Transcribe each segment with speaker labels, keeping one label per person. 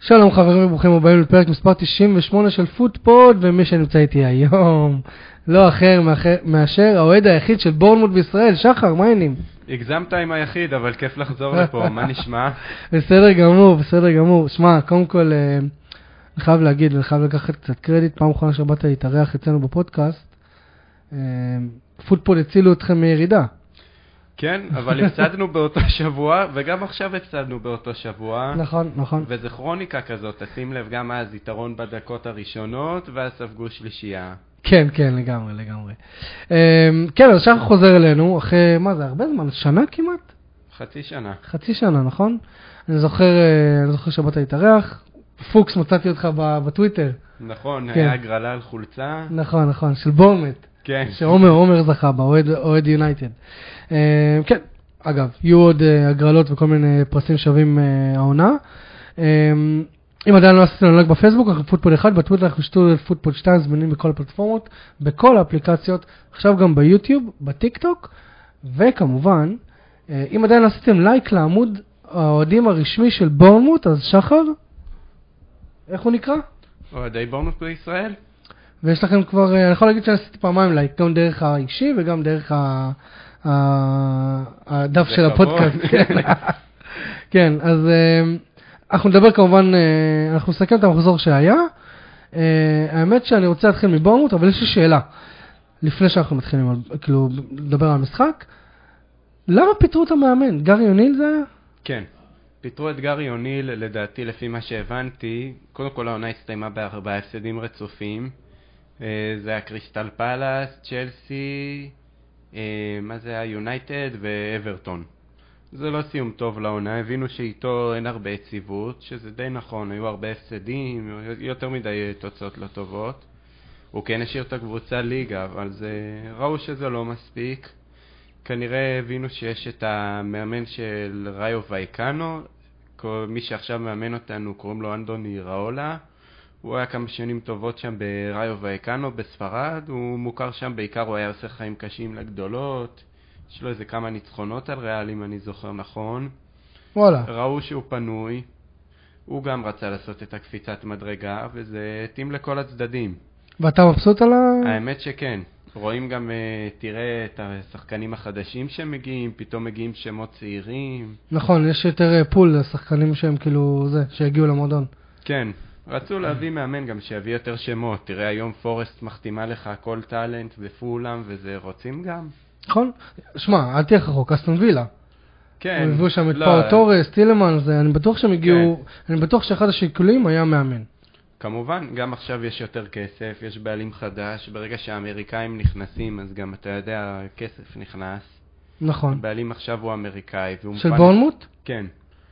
Speaker 1: שלום חברים וברוכים הבאים לפרק מספר 98 של פודפוד, ומי שנמצא איתי היום לא אחר מאחר- מאשר האוהד היחיד של בורנמוט בישראל, שחר, מה העניינים?
Speaker 2: הגזמת עם היחיד, אבל כיף לחזור לפה, מה נשמע?
Speaker 1: בסדר גמור, בסדר גמור. שמע, קודם כל, אה, אני חייב להגיד, אני חייב לקחת קצת קרדיט, פעם אחרונה שבאת להתארח אצלנו בפודקאסט, אה, פודפוד הצילו אתכם מירידה.
Speaker 2: כן, אבל הפסדנו באותו שבוע, וגם עכשיו הפסדנו באותו שבוע.
Speaker 1: נכון, נכון.
Speaker 2: וזה כרוניקה כזאת, תשים לב, גם אז יתרון בדקות הראשונות, ואז ספגו שלישייה.
Speaker 1: כן, כן, לגמרי, לגמרי. אה, כן, אז שחר חוזר אלינו, אחרי, מה זה, הרבה זמן, שנה כמעט?
Speaker 2: חצי שנה.
Speaker 1: חצי שנה, נכון? אני זוכר, אה, אני זוכר שבאת להתארח. פוקס, מצאתי אותך ב- בטוויטר.
Speaker 2: נכון,
Speaker 1: כן.
Speaker 2: היה הגרלה על חולצה.
Speaker 1: נכון, נכון, של בורמט,
Speaker 2: כן.
Speaker 1: שעומר עומר זכה בה, אוהד- אוהד יונייטד. אה, כן, אגב, יהיו עוד אה, הגרלות וכל מיני פרסים שווים אה, העונה. אה, אם עדיין לא עשיתם לנו לייק בפייסבוק, אנחנו פוטפוד 1, בטוויטר אנחנו שטו פוטפוד 2, זמינים בכל הפלטפורמות, בכל האפליקציות, עכשיו גם ביוטיוב, בטיקטוק, וכמובן, אה, אם עדיין לא עשיתם לייק לעמוד האוהדים הרשמי של בורנמוט, אז שחר, איך הוא נקרא?
Speaker 2: אוהדי בורנות בישראל?
Speaker 1: ויש לכם כבר, אה, אני יכול להגיד שעשיתי פעמיים לייק, גם דרך האישי וגם דרך ה... ה- הדף
Speaker 2: זה
Speaker 1: של
Speaker 2: כבוד.
Speaker 1: הפודקאסט. כן. כן, אז אה, אנחנו נדבר כמובן, אה, אנחנו נסכם את המחזור שהיה. אה, האמת שאני רוצה להתחיל מבורמוט, אבל יש לי שאלה. לפני שאנחנו מתחילים, על- כאילו, לדבר על המשחק, למה פיטרו את המאמן? גארי אוניל זה היה?
Speaker 2: כן. פיטרו את גארי אוניל, לדעתי, לפי מה שהבנתי, קודם כל העונה הסתיימה בארבעה הפסדים רצופים. אה, זה היה קריסטל פלאס, צ'לסי, אה, מה זה היה? יונייטד ואברטון. זה לא סיום טוב לעונה, הבינו שאיתו אין הרבה יציבות, שזה די נכון, היו הרבה הפסדים, יותר מדי אה, תוצאות לא טובות. הוא כן השאיר את הקבוצה ליגה, אבל זה... ראו שזה לא מספיק. כנראה הבינו שיש את המאמן של ראיו וייקאנו, כל- מי שעכשיו מאמן אותנו קוראים לו אנדוני ראולה. הוא היה כמה שנים טובות שם בראיו וייקאנו בספרד, הוא מוכר שם בעיקר, הוא היה עושה חיים קשים לגדולות, יש לו איזה כמה ניצחונות על ריאל אם אני זוכר נכון.
Speaker 1: וואלה.
Speaker 2: ראו שהוא פנוי, הוא גם רצה לעשות את הקפיצת מדרגה, וזה התאים לכל הצדדים.
Speaker 1: ואתה מבסוט על ה...
Speaker 2: האמת שכן. רואים גם, אה, תראה את השחקנים החדשים שמגיעים, פתאום מגיעים שמות צעירים.
Speaker 1: נכון, יש יותר אה, פול לשחקנים שהם כאילו זה, שהגיעו למועדון.
Speaker 2: כן, רצו להביא מאמן גם שיביא יותר שמות. תראה, היום פורסט מחתימה לך כל טאלנט ופולאם וזה, רוצים גם?
Speaker 1: נכון? שמע, אל תלך רחוק, אסטון וילה.
Speaker 2: כן.
Speaker 1: הם הביאו שם את
Speaker 2: לא, כן.
Speaker 1: פאו תורס, טילמן, זה, אני בטוח שהם הגיעו, אני בטוח שאחד השיקולים היה מאמן.
Speaker 2: כמובן, גם עכשיו יש יותר כסף, יש בעלים חדש. ברגע שהאמריקאים נכנסים, אז גם, אתה יודע, הכסף נכנס.
Speaker 1: נכון.
Speaker 2: הבעלים עכשיו הוא אמריקאי. והוא
Speaker 1: של
Speaker 2: מוכן-
Speaker 1: בורנמוט?
Speaker 2: כן.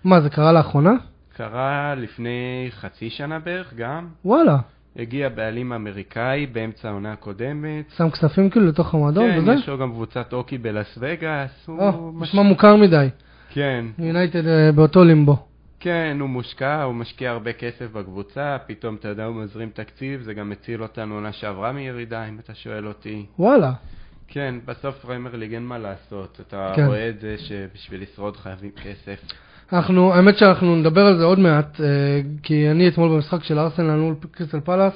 Speaker 1: מה, זה קרה לאחרונה?
Speaker 2: קרה לפני חצי שנה בערך גם.
Speaker 1: וואלה.
Speaker 2: הגיע בעלים אמריקאי באמצע העונה הקודמת.
Speaker 1: שם כספים כאילו לתוך המועדון
Speaker 2: כן,
Speaker 1: וזה?
Speaker 2: יש לו גם קבוצת הוקי בלאס וגאס. הוא
Speaker 1: או,
Speaker 2: מש-
Speaker 1: אה, נשמע מוכר מדי.
Speaker 2: כן,
Speaker 1: יונייטד אה, באותו לימבו.
Speaker 2: כן, הוא מושקע, הוא משקיע הרבה כסף בקבוצה, פתאום, אתה יודע, הוא מזרים תקציב, זה גם הציל אותנו עונה שעברה מירידה, אם אתה שואל אותי.
Speaker 1: וואלה.
Speaker 2: כן, בסוף פריימר ליג אין מה לעשות, אתה
Speaker 1: כן.
Speaker 2: רואה את זה שבשביל לשרוד חייבים כסף.
Speaker 1: אנחנו, האמת שאנחנו נדבר על זה עוד מעט, אה, כי אני אתמול במשחק של ארסנל מול קריסטל פלאס,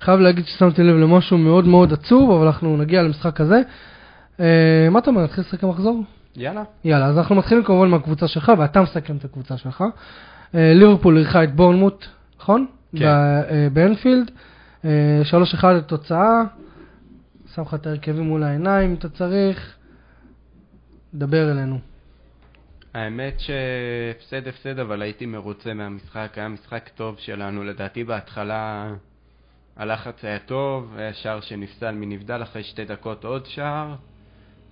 Speaker 1: חייב להגיד ששמתי לב למשהו מאוד מאוד עצוב, אבל אנחנו נגיע למשחק הזה. אה, מה אתה אומר, נתחיל לשחק המחזור?
Speaker 2: יאללה.
Speaker 1: יאללה, אז אנחנו מתחילים כמובן מהקבוצה שלך, ואתה מסכם את הקבוצה שלך. אה, ליברפול אירחה את בורנמוט, נכון?
Speaker 2: כן.
Speaker 1: ב- אה, באנפילד. אה, 3-1 לתוצאה, שם לך את ההרכבים מול העיניים אם אתה צריך. דבר אלינו.
Speaker 2: האמת שהפסד הפסד, אבל הייתי מרוצה מהמשחק, היה משחק טוב שלנו. לדעתי בהתחלה הלחץ היה טוב, היה שער שנפסל מנבדל, אחרי שתי דקות עוד שער.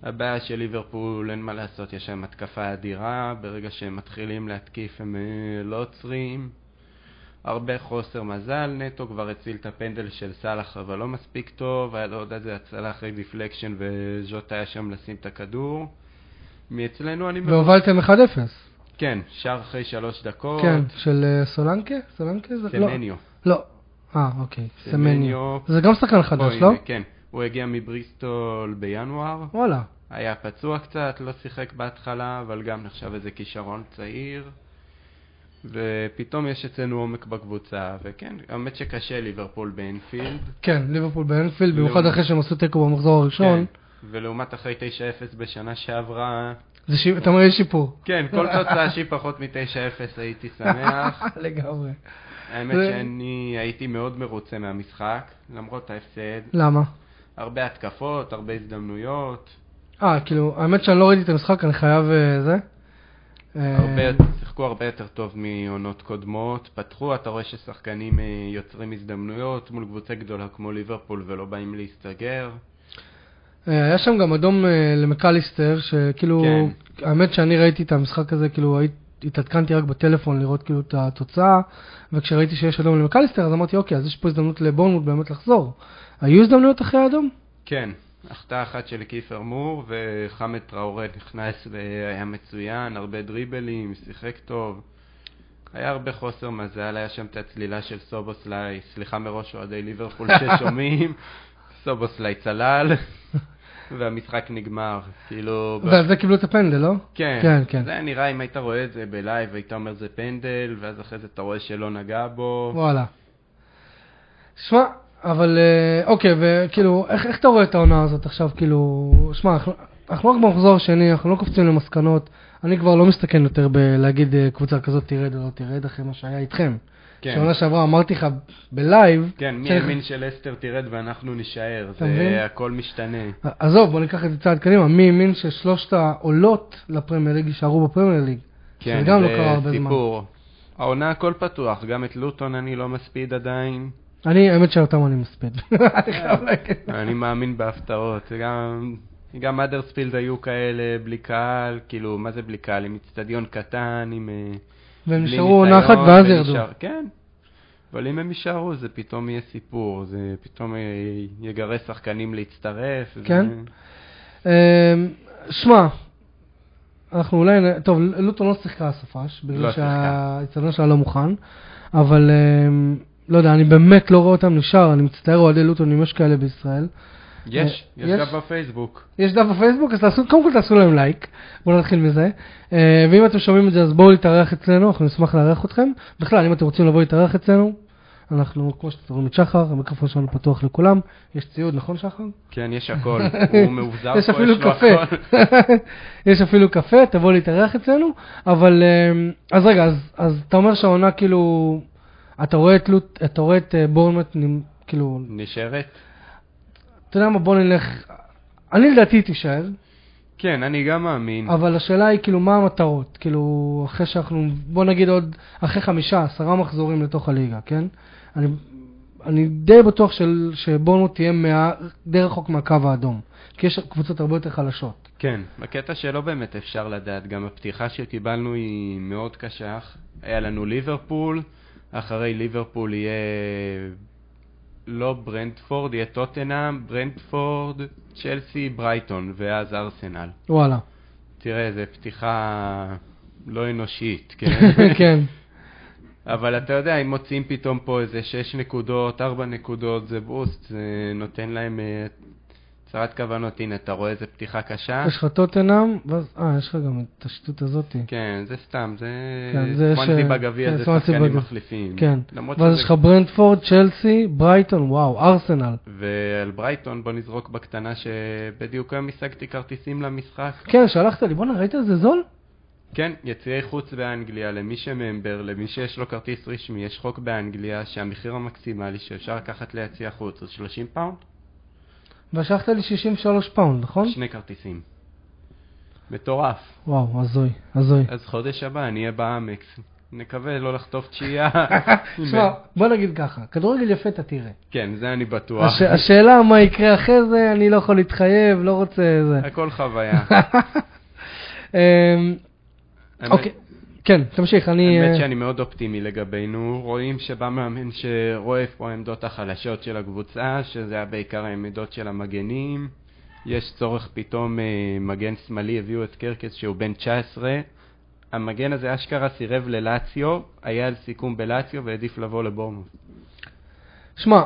Speaker 2: הבעיה של ליברפול, אין מה לעשות, יש להם התקפה אדירה, ברגע שהם מתחילים להתקיף הם אה, לא עוצרים. הרבה חוסר מזל, נטו כבר הציל את הפנדל של סאלח, אבל לא מספיק טוב, היה לו עוד איזה הצלה אחרי דיפלקשן וז'וט היה שם לשים את הכדור. מאצלנו אני
Speaker 1: והובלתם 1-0.
Speaker 2: כן, שער אחרי שלוש דקות.
Speaker 1: כן, של אה, סולנקה? סולנקה זה? לא.
Speaker 2: סמניו.
Speaker 1: לא. אה, אוקיי. סמניו.
Speaker 2: סמניו.
Speaker 1: זה גם שחקן
Speaker 2: בוא,
Speaker 1: חדש,
Speaker 2: הנה,
Speaker 1: לא?
Speaker 2: כן. הוא הגיע מבריסטול בינואר,
Speaker 1: וואלה.
Speaker 2: היה פצוע קצת, לא שיחק בהתחלה, אבל גם נחשב איזה כישרון צעיר. ופתאום יש אצלנו עומק בקבוצה, וכן, האמת שקשה ליברפול באנפילד.
Speaker 1: כן, ליברפול באנפילד, במיוחד
Speaker 2: לא.
Speaker 1: אחרי שהם עשו תיקו במחזור
Speaker 2: כן,
Speaker 1: הראשון.
Speaker 2: ולעומת אחרי 9-0 בשנה שעברה,
Speaker 1: זה ש- אתה אומר, יש שיפור.
Speaker 2: כן, כל תוצאה שהיא פחות מ-9-0 הייתי שמח.
Speaker 1: אה, לגמרי.
Speaker 2: האמת
Speaker 1: זה-
Speaker 2: שאני הייתי מאוד מרוצה מהמשחק, למרות ההפסד.
Speaker 1: למה?
Speaker 2: הרבה התקפות, הרבה הזדמנויות,
Speaker 1: אה, כאילו, האמת שאני לא ראיתי את המשחק, אני חייב אה, זה. אה,
Speaker 2: הרבה, שיחקו הרבה יותר טוב מעונות קודמות. פתחו, אתה רואה ששחקנים אה, יוצרים הזדמנויות מול קבוצה גדולה כמו ליברפול ולא באים להסתגר.
Speaker 1: אה, היה שם גם אדום אה, למקליסטר, שכאילו,
Speaker 2: כן.
Speaker 1: האמת שאני ראיתי את המשחק הזה, כאילו, היית- התעדכנתי רק בטלפון לראות כאילו את התוצאה, וכשראיתי שיש אדום למקליסטר, אז אמרתי, אוקיי, אז יש פה הזדמנות לבורנמוט באמת לחזור. היו הזדמנויות אחרי האדום?
Speaker 2: כן, החטאה אחת של קיפר מור וחמד טראורה נכנס והיה מצוין, הרבה דריבלים, שיחק טוב. היה הרבה חוסר מזל, היה שם את הצלילה של סובוסליי, סליחה מראש אוהדי ליברפול ששומעים, סובוסליי צלל, והמשחק נגמר. כאילו... ב-
Speaker 1: ועל זה קיבלו את הפנדל, לא?
Speaker 2: כן,
Speaker 1: כן, כן.
Speaker 2: זה היה נראה אם היית רואה את זה בלייב, היית אומר זה פנדל, ואז אחרי זה אתה רואה שלא נגע בו.
Speaker 1: וואלה. שמע, אבל אה, אוקיי, וכאילו, איך, איך אתה רואה את העונה הזאת עכשיו, כאילו, שמע, אנחנו- אנחנו רק במחזור השני, אנחנו לא קופצים למסקנות, אני כבר לא מסתכן יותר בלהגיד אה, קבוצה כזאת תרד או לא תרד אחרי מה שהיה איתכם.
Speaker 2: כן.
Speaker 1: שעונה שעברה אמרתי לך בלייב,
Speaker 2: כן, מי
Speaker 1: צריך-
Speaker 2: האמין שלסטר תרד ואנחנו נישאר,
Speaker 1: אתה מבין?
Speaker 2: זה הכל משתנה.
Speaker 1: עזוב, בוא ניקח את זה צעד קדימה, מי האמין ששלושת העולות לפרמייר ליג יישארו בפרמייר ליג?
Speaker 2: כן,
Speaker 1: שזה גם לא קרה הרבה
Speaker 2: זה סיפור. העונה הכל פתוח, גם את לוטון אני לא מספיד עדיין.
Speaker 1: אני, האמת שאותם אני מספיד.
Speaker 2: אה,
Speaker 1: אני חייב להגיד.
Speaker 2: אני מאמין בהפתעות. גם- גם אדרספילד היו כאלה בלי קהל, כאילו, מה זה בלי קהל? עם אצטדיון קטן, עם... אה,
Speaker 1: והם
Speaker 2: בלי
Speaker 1: נשארו עונה
Speaker 2: ניסיון,
Speaker 1: אחת ואז ירדו.
Speaker 2: ונשאר- כן, אבל אם הם יישארו זה פתאום יהיה סיפור, זה פתאום אה, יגרש שחקנים להצטרף. זה-
Speaker 1: כן? אמ, שמע, אנחנו אולי, נ- טוב, לוטון לא שיחקה הסופש,
Speaker 2: לא
Speaker 1: בגלל
Speaker 2: שיחקה.
Speaker 1: שהאיצטדיון שלה לא מוכן, אבל אמ, לא יודע, אני באמת לא רואה אותם נשאר, אני מצטער אוהדי לוטון אם יש כאלה בישראל.
Speaker 2: יש,
Speaker 1: אה,
Speaker 2: יש
Speaker 1: יש?
Speaker 2: גם בפייסבוק.
Speaker 1: יש דף בפייסבוק, אז תעשו, קודם כל תעשו להם לייק, בואו נתחיל מזה. אה, ואם אתם שומעים את זה, אז בואו להתארח אצלנו, אנחנו נשמח לארח אתכם. בכלל, אם אתם רוצים לבוא להתארח אצלנו, אנחנו, כמו שאתם רואים את שחר, המיקרופון שלנו פתוח לכולם. יש ציוד, נכון שחר?
Speaker 2: כן, יש הכל. הוא מאובזר פה,
Speaker 1: יש אפילו
Speaker 2: לו
Speaker 1: קפה,
Speaker 2: הכל.
Speaker 1: יש אפילו קפה, תבוא להתארח אצלנו, אבל אמ, אז רגע, אז, אז אתה אומר שהעונה כאילו, אתה רואה את, לוט, אתה רואה את אה, בורנמוט, נמ- כאילו,
Speaker 2: נשארת?
Speaker 1: אתה יודע מה, בוא נלך, אני לדעתי היא תישאר,
Speaker 2: כן, אני גם מאמין.
Speaker 1: אבל השאלה היא כאילו מה המטרות, כאילו אחרי שאנחנו, בוא נגיד עוד, אחרי חמישה, עשרה מחזורים לתוך הליגה, כן? אני, אני די בטוח של, שבורנמוט תהיה מה, די רחוק מהקו האדום, כי יש קבוצות הרבה יותר חלשות.
Speaker 2: כן, בקטע שלא באמת אפשר לדעת, גם הפתיחה שקיבלנו היא מאוד קשה. היה לנו ליברפול, אחרי ליברפול יהיה לא ברנדפורד, יהיה טוטנאם, ברנדפורד, צ'לסי, ברייטון, ואז ארסנל.
Speaker 1: וואלה.
Speaker 2: תראה, זו פתיחה לא אנושית, כן?
Speaker 1: כן.
Speaker 2: אבל אתה יודע, אם מוצאים פתאום פה איזה 6 נקודות, 4 נקודות, זה בוסט, זה נותן להם אה, צרת כוונות. הנה, אתה רואה איזה פתיחה קשה?
Speaker 1: יש לך טוטנאם, ואז, אה, יש לך גם את השטות הזאתי.
Speaker 2: כן, זה סתם, זה...
Speaker 1: כן, זה
Speaker 2: סוואנסי
Speaker 1: ש-
Speaker 2: בגביע
Speaker 1: כן,
Speaker 2: זה
Speaker 1: סוואנסי
Speaker 2: שחקנים
Speaker 1: בגביע.
Speaker 2: מחליפים.
Speaker 1: כן.
Speaker 2: למרות
Speaker 1: ואז
Speaker 2: שזה-
Speaker 1: יש לך ברנדפורד, צ'לסי, ברייטון, וואו, ארסנל.
Speaker 2: ועל ברייטון, בוא נזרוק בקטנה שבדיוק היום השגתי כרטיסים למשחק.
Speaker 1: כן, שלחת לי, בואנה, ראית איזה זול?
Speaker 2: כן, יציאי חוץ באנגליה, למי שממבר, למי שיש לו כרטיס רשמי, יש חוק באנגליה שהמחיר המקסימלי שאפשר לקחת ליציע חוץ הוא 30 פאונד,
Speaker 1: ושלחת לי 63 פאונד, נכון?
Speaker 2: שני כרטיסים. מטורף.
Speaker 1: וואו, הזוי, הזוי.
Speaker 2: אז חודש הבא אני אהיה באמקס. נקווה לא לחטוף תשיעייה.
Speaker 1: שמע, בוא נגיד ככה, כדורגל יפה אתה תראה.
Speaker 2: כן, זה אני בטוח.
Speaker 1: הש- השאלה מה יקרה אחרי זה, אני לא יכול להתחייב, לא רוצה זה.
Speaker 2: הכל חוויה.
Speaker 1: אוקיי. אמ,
Speaker 2: האמת-
Speaker 1: אוקיי, כן, תמשיך, אני...
Speaker 2: האמת
Speaker 1: אה,
Speaker 2: שאני מאוד אופטימי לגבינו, רואים שבא מאמן שרואה איפה העמדות החלשות של הקבוצה, שזה היה בעיקר העמדות של המגנים. יש צורך פתאום, אה, מגן שמאלי הביאו את קרקס שהוא בן 19. המגן הזה אשכרה סירב ללאציו, היה על סיכום בלאציו והעדיף לבוא לבורנות.
Speaker 1: שמע,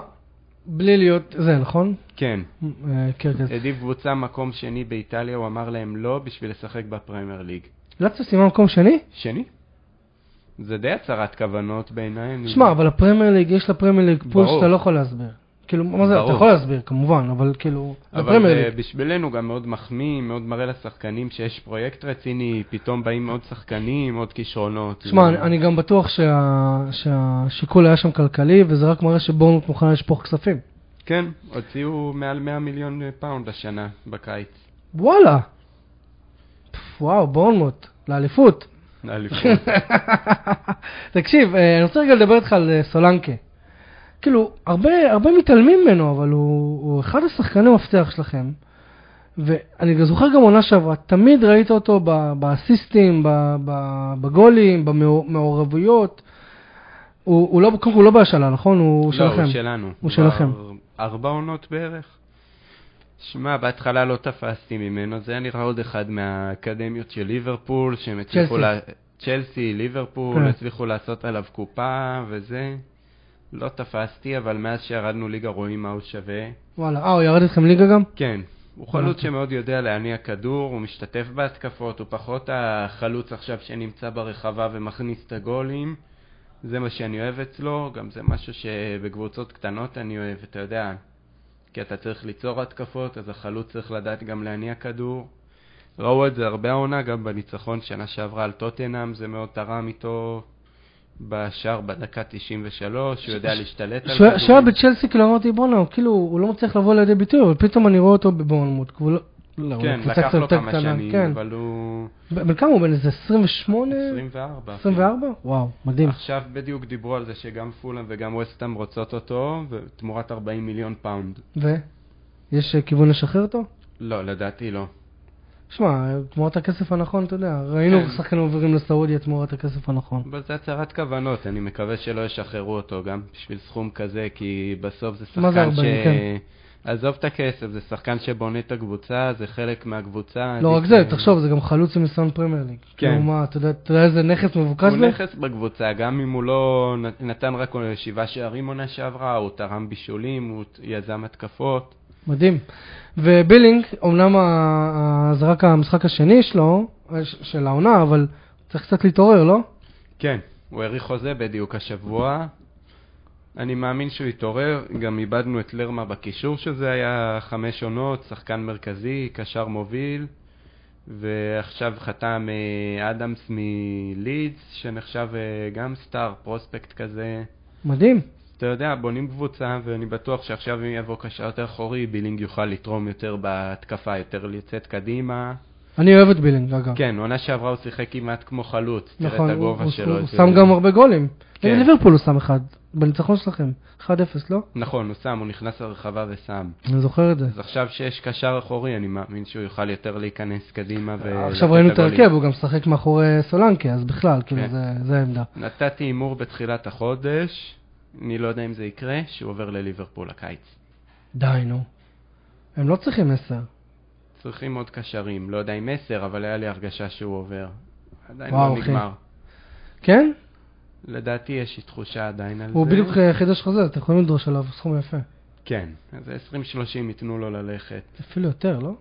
Speaker 1: בלי להיות זה, נכון?
Speaker 2: כן,
Speaker 1: אה, קרקס.
Speaker 2: העדיף קבוצה מקום שני באיטליה, הוא אמר להם לא בשביל לשחק בפרמייר ליג.
Speaker 1: לאציו סיימה מקום שני?
Speaker 2: שני? זה די הצהרת כוונות בעיניי. אני- לא-
Speaker 1: שמע, אבל הפרמייר ליג, יש לפרמייר ליג פול
Speaker 2: ברור.
Speaker 1: שאתה לא יכול להסביר. כאילו, מה זה, אתה
Speaker 2: ברור.
Speaker 1: יכול להסביר, כמובן, אבל כאילו,
Speaker 2: אבל
Speaker 1: לפרמייר
Speaker 2: אה,
Speaker 1: ליג.
Speaker 2: בשבילנו גם מאוד מחמיא, מאוד מראה לשחקנים שיש פרויקט רציני, פתאום באים עוד שחקנים, עוד כישרונות. לא-
Speaker 1: שמע, אני-
Speaker 2: זה-
Speaker 1: אני גם בטוח שה- שהשיקול היה שם כלכלי, וזה רק מראה שבורנות מוכנה לשפוך כספים.
Speaker 2: כן, הוציאו מעל 100 מיליון פאונד השנה בקיץ.
Speaker 1: וואלה. פפ, וואו, בורנות, לאליפות.
Speaker 2: לאליפות.
Speaker 1: תקשיב, אה, אני רוצה רגע לדבר איתך על אה, סולנקה. כאילו, הרבה, הרבה מתעלמים ממנו, אבל הוא, הוא אחד השחקני מפתח שלכם. ואני גם זוכר גם עונה שעברה, תמיד ראית אותו ב- באסיסטים, ב- ב- בגולים, במעורבויות. הוא, הוא לא, קודם כל הוא לא בהשאלה, נכון? הוא
Speaker 2: לא,
Speaker 1: שלכם.
Speaker 2: הוא שלנו.
Speaker 1: הוא שלכם.
Speaker 2: כבר ארבע עונות בערך. שמע, בהתחלה לא תפסתי ממנו, זה היה נראה עוד אחד מהאקדמיות של ליברפול, שהם הצליחו...
Speaker 1: צ'לסי.
Speaker 2: לה- צ'לסי, ליברפול,
Speaker 1: כן.
Speaker 2: הצליחו לעשות עליו קופה וזה. לא תפסתי, אבל מאז שירדנו ליגה רואים מה הוא שווה.
Speaker 1: וואלה, אה, הוא ירד איתכם ליגה גם?
Speaker 2: כן, הוא חלוץ
Speaker 1: הבנתי.
Speaker 2: שמאוד יודע להניע כדור, הוא משתתף בהתקפות, הוא פחות החלוץ עכשיו שנמצא ברחבה ומכניס את הגולים. זה מה שאני אוהב אצלו, גם זה משהו שבקבוצות קטנות אני אוהב, אתה יודע, כי אתה צריך ליצור התקפות, אז החלוץ צריך לדעת גם להניע כדור. ראו את זה הרבה העונה, גם בניצחון שנה שעברה על טוטנאם, זה מאוד תרם איתו בשער בדקה 93, הוא יודע להשתלט על
Speaker 1: שהוא היה- שהוא היה בצ'לסי, כאילו אמרתי, בואנה, הוא כאילו, הוא לא מצליח לבוא לידי ביטוי, אבל פתאום אני רואה אותו בבורנמוט. כאילו, לא- לא, הוא
Speaker 2: כן,
Speaker 1: קבוצה
Speaker 2: לקח
Speaker 1: קצת
Speaker 2: לו
Speaker 1: יותר
Speaker 2: כמה
Speaker 1: קטנה,
Speaker 2: שנים,
Speaker 1: כן.
Speaker 2: אבל הוא...
Speaker 1: ב- בן כמה הוא? בן איזה 28?
Speaker 2: 24.
Speaker 1: 24? וואו, מדהים.
Speaker 2: כן. עכשיו בדיוק דיברו על זה שגם פולאם וגם ווסטהאם רוצות אותו, ותמורת 40 מיליון פאונד.
Speaker 1: ו? יש אה, כיוון לשחרר אותו?
Speaker 2: לא, לדעתי לא.
Speaker 1: שמע, תמורת הכסף הנכון, אתה יודע, ראינו
Speaker 2: כן.
Speaker 1: שחקנים עוברים לסעודיה תמורת הכסף הנכון.
Speaker 2: אבל זה הצהרת כוונות, אני מקווה שלא ישחררו אותו גם בשביל סכום כזה, כי בסוף זה
Speaker 1: מה זה
Speaker 2: שחקן ש...
Speaker 1: 40, כן.
Speaker 2: עזוב את הכסף, זה שחקן שבונה את הקבוצה, זה חלק מהקבוצה.
Speaker 1: לא רק
Speaker 2: עדיף,
Speaker 1: זה,
Speaker 2: אה,
Speaker 1: תחשוב, זה גם חלוץ עם ניסיון פרמייר ליג.
Speaker 2: כן.
Speaker 1: כאילו, מה, אתה יודע- אתה יודע איזה נכס מבוקש
Speaker 2: הוא
Speaker 1: לו?
Speaker 2: נכס בקבוצה, גם אם הוא לא נ- נתן רק שבעה שערים עונה שעברה, הוא תרם בישולים, הוא יזם התקפות.
Speaker 1: מדהים. ובילינג, אמנם ה- ה- זה רק המשחק השני שלו, אה, ש- של העונה, אבל צריך קצת להתעורר, לא?
Speaker 2: כן, הוא האריך חוזה בדיוק השבוע. אני מאמין שהוא יתעורר, גם איבדנו את לרמה בקישור שזה היה חמש עונות, שחקן מרכזי, קשר מוביל, ועכשיו חתם אה, אדמס מלידס, שנחשב אה, גם סטאר, פרוספקט כזה.
Speaker 1: מדהים.
Speaker 2: אתה יודע, בונים קבוצה, ואני בטוח שעכשיו אם יבוא קשר יותר אחורי, בילינג יוכל לתרום יותר בהתקפה, יותר לצאת קדימה.
Speaker 1: אני אוהב את בילינג, אגב.
Speaker 2: כן, עונה שעברה הוא שיחק כמעט כמו חלוץ, תראה
Speaker 1: נכון,
Speaker 2: את
Speaker 1: הוא,
Speaker 2: הגובה
Speaker 1: הוא,
Speaker 2: שלו.
Speaker 1: הוא
Speaker 2: זה-
Speaker 1: שם גם הרבה גולים.
Speaker 2: כן.
Speaker 1: נגד ליברפול הוא שם אחד, בניצחון שלכם. 1-0, לא?
Speaker 2: נכון, הוא שם, הוא נכנס לרחבה ושם.
Speaker 1: אני זוכר את זה.
Speaker 2: אז עכשיו שיש קשר אחורי, אני מאמין שהוא יוכל יותר להיכנס קדימה ו...
Speaker 1: עכשיו ראינו את ההרכב, הוא גם משחק מאחורי סולנקה, אז בכלל, כאילו,
Speaker 2: כן.
Speaker 1: זה- זה העמדה.
Speaker 2: נתתי הימור בתחילת החודש, אני לא יודע אם זה יקרה, שהוא עובר לליברפול הקיץ.
Speaker 1: די, נו. הם לא צריכים 10.
Speaker 2: צריכים עוד קשרים, לא יודע אם 10, אבל היה לי הרגשה שהוא עובר. עדיין
Speaker 1: וואו,
Speaker 2: לא
Speaker 1: אחי.
Speaker 2: נגמר.
Speaker 1: כן?
Speaker 2: לדעתי יש לי תחושה עדיין על זה.
Speaker 1: הוא בדיוק אה, חידש חוזה, אז אתם יכולים לדרוש עליו סכום יפה.
Speaker 2: כן, אז 20-30 ייתנו לו ללכת.
Speaker 1: אפילו יותר, לא?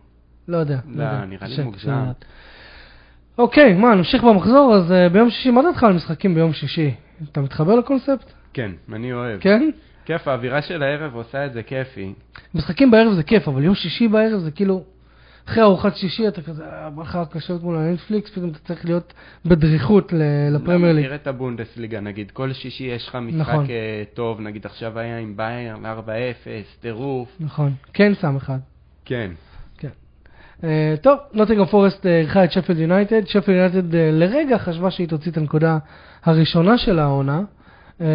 Speaker 1: לא יודע.
Speaker 2: לא,
Speaker 1: יודע.
Speaker 2: נראה לי
Speaker 1: קשה,
Speaker 2: מוגזם.
Speaker 1: קשה לדעת. אוקיי, מה, נמשיך במחזור, אז אה, ביום שישי, מה דעתך על משחקים ביום שישי? אתה מתחבר לקונספט?
Speaker 2: כן, אני אוהב.
Speaker 1: כן?
Speaker 2: כיף, האווירה של הערב עושה את זה כיפי.
Speaker 1: משחקים בערב זה כיף, אבל יום שישי בערב זה כאילו... אחרי ארוחת שישי אתה כזה, אה, בא לך קשות מול הנטפליקס, פתאום אתה צריך להיות בדריכות ל- לפרמייר ליג.
Speaker 2: תראה את הבונדסליגה, נגיד, כל שישי יש לך
Speaker 1: נכון.
Speaker 2: משחק אה, טוב, נגיד עכשיו היה עם ביירן 4-0, טירוף.
Speaker 1: נכון, כן שם אחד.
Speaker 2: כן.
Speaker 1: אה, טוב, נוטינגרם פורסט אה, אירחה את שפילד יונייטד. שפילד יונייטד אה, לרגע חשבה שהיא תוציא את הנקודה הראשונה של העונה, אה,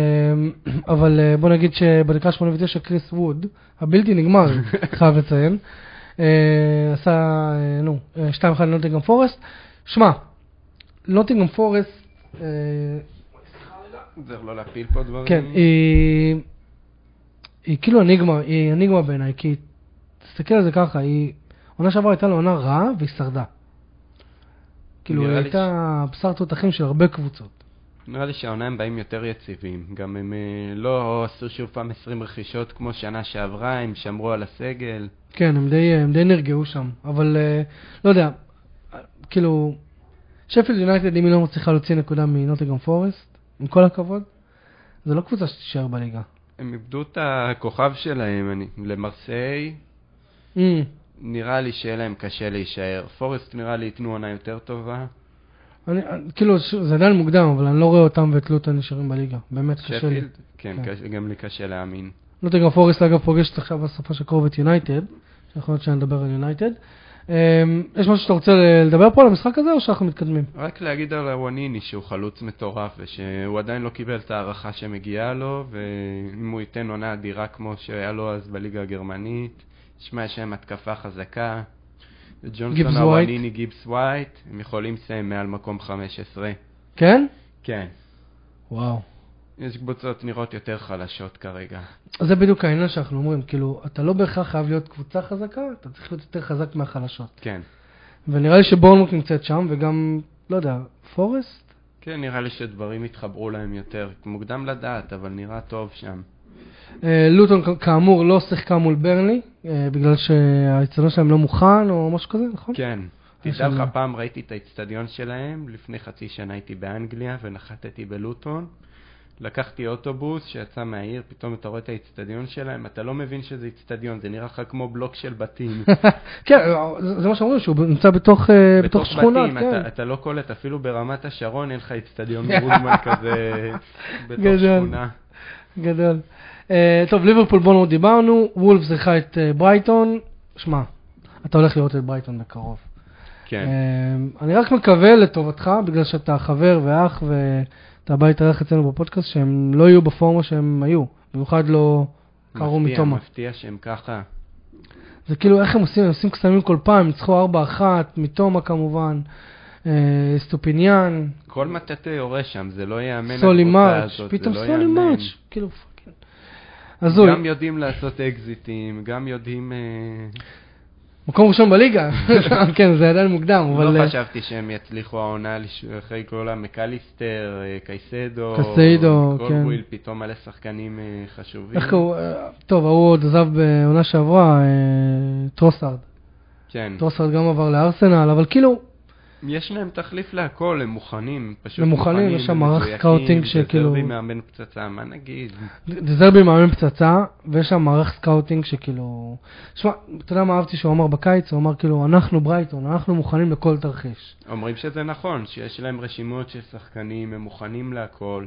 Speaker 1: אבל אה, בוא נגיד שבדקה ה-89 קריס ווד, הבלתי נגמר, חייב לציין, אה, עשה, אה, נו, אה, 2-1 לנוטינגרם פורסט. שמע, נוטינגרם פורסט, אה,
Speaker 2: עוזר לו להפיל פה דברים.
Speaker 1: כן, היא, היא כאילו אניגמה, היא אניגמה בעיניי, כי תסתכל על זה ככה, היא, עונה שעברה הייתה לה עונה רעה והיא שרדה. כאילו היא
Speaker 2: נראה לי
Speaker 1: הייתה בשר תותחים של הרבה קבוצות.
Speaker 2: נראה לי שהעונה הם באים יותר יציבים. גם הם אה, לא עשו שוב פעם 20 רכישות כמו שנה שעברה, הם שמרו על הסגל.
Speaker 1: כן, הם די, הם די נרגעו שם, אבל אה, לא יודע, אה, כאילו, שפילד יונייטד אם היא לא מצליחה להוציא נקודה מנוטגרם פורסט, עם כל הכבוד. זה לא קבוצה שתישאר בליגה.
Speaker 2: הם איבדו את הכוכב שלהם אני, למרסיי,
Speaker 1: Mm.
Speaker 2: נראה לי שיהיה להם קשה להישאר. פורסט נראה לי ייתנו עונה יותר טובה.
Speaker 1: אני, אני- כאילו, ש- זה עדיין מוקדם, אבל אני לא רואה אותם ואת לוטון נשארים בליגה. באמת קשה לי.
Speaker 2: שפילד, כן,
Speaker 1: כן.
Speaker 2: קשה- גם לי קשה להאמין.
Speaker 1: נוטינגרם פורסט אגב פוגשת עכשיו בסופה של קרוב את יונייטד, יכול להיות שנדבר על יונייטד. אמ, יש משהו שאתה רוצה ל- לדבר פה על המשחק הזה או שאנחנו מתקדמים?
Speaker 2: רק להגיד על הוואניני שהוא חלוץ מטורף ושהוא עדיין לא קיבל את ההערכה שמגיעה לו ואם הוא ייתן עונה אדירה כמו שהיה לו אז בליגה הגרמנית, שמע יש להם התקפה חזקה.
Speaker 1: גיבס
Speaker 2: ג'ונסון
Speaker 1: ווייט.
Speaker 2: הוואניני גיבס ווייט, הם יכולים לסיים מעל מקום 15.
Speaker 1: כן?
Speaker 2: כן.
Speaker 1: וואו.
Speaker 2: יש קבוצות נראות יותר חלשות כרגע.
Speaker 1: זה בדיוק העניין שאנחנו אומרים, כאילו, אתה לא בהכרח חייב להיות קבוצה חזקה, אתה צריך להיות יותר חזק מהחלשות.
Speaker 2: כן.
Speaker 1: ונראה לי שבורנמוט נמצאת שם, וגם, לא יודע, פורסט?
Speaker 2: כן, נראה לי שדברים יתחברו להם יותר. מוקדם לדעת, אבל נראה טוב שם.
Speaker 1: אה, לוטון כ- כאמור לא שיחקה מול ברנלי, אה, בגלל שהאצטדיון שלהם לא מוכן או משהו כזה, נכון?
Speaker 2: כן.
Speaker 1: יש
Speaker 2: תדע
Speaker 1: לנו-
Speaker 2: לך, פעם ראיתי את האצטדיון שלהם, לפני חצי שנה הייתי באנגליה ונחתתי בלוטון. לקחתי אוטובוס שיצא מהעיר, פתאום אתה רואה את האצטדיון שלהם, אתה לא מבין שזה אצטדיון, זה נראה לך כמו בלוק של בתים.
Speaker 1: כן, זה- זה מה שאומרים, שהוא נמצא בתוך, אה, בתוך שכונה,
Speaker 2: בתים,
Speaker 1: כן.
Speaker 2: אתה, אתה לא קולט, אפילו ברמת השרון אין לך אצטדיון גרוזמן כזה בתוך
Speaker 1: גדול.
Speaker 2: שכונה.
Speaker 1: גדול. אה, טוב, ליברפול בונור דיברנו, וולף זכה את אה, ברייטון. שמע, אתה הולך לראות את ברייטון בקרוב.
Speaker 2: כן,
Speaker 1: אה, אני רק מקווה לטובתך, בגלל שאתה חבר ואח ואתה בא להתארח אצלנו בפודקאסט, שהם לא יהיו בפורמה שהם היו. במיוחד לא קרו
Speaker 2: מפתיע,
Speaker 1: מתומה.
Speaker 2: מפתיע שהם ככה.
Speaker 1: זה כאילו, איך הם עושים? הם עושים קסמים כל פעם, הם ניצחו 4-1, מתומה כמובן, אה, סטופיניאן,
Speaker 2: כל מטאטא יורה שם, זה לא ייאמן.
Speaker 1: סולי
Speaker 2: הקבוצה
Speaker 1: מארץ',
Speaker 2: הזאת, זה
Speaker 1: פתאום
Speaker 2: לא
Speaker 1: סולי
Speaker 2: ייאמן.
Speaker 1: מארץ', כאילו פאקינג. הזוי.
Speaker 2: גם יודעים לעשות אקזיטים, גם יודעים... אה,
Speaker 1: מקום ראשון בליגה, כן זה עדיין מוקדם, אבל
Speaker 2: לא
Speaker 1: אה,
Speaker 2: חשבתי שהם יצליחו העונה לש- אחרי כל המקליסטר, אה, קייסדו,
Speaker 1: קייסדו, כן.
Speaker 2: קולוויל, פתאום מלא שחקנים אה, חשובים.
Speaker 1: איך הוא, אה, טוב ההוא עוד עזב בעונה שעברה, אה, טרוסארד,
Speaker 2: כן.
Speaker 1: טרוסארד גם עבר לארסנל, אבל כאילו,
Speaker 2: יש להם תחליף להכל, הם מוכנים, פשוט
Speaker 1: הם מוכנים, יש שם מערך סקאוטינג שכאילו-
Speaker 2: זה מאמן פצצה, מה נגיד?
Speaker 1: דזרבי מאמן פצצה, ויש שם מערך סקאוטינג שכאילו, שמע, אתה יודע מה אהבתי שהוא אמר בקיץ, הוא אמר כאילו, אנחנו ברייטון, אנחנו מוכנים לכל תרחיש.
Speaker 2: אומרים שזה נכון, שיש להם רשימות של שחקנים, הם מוכנים להכל.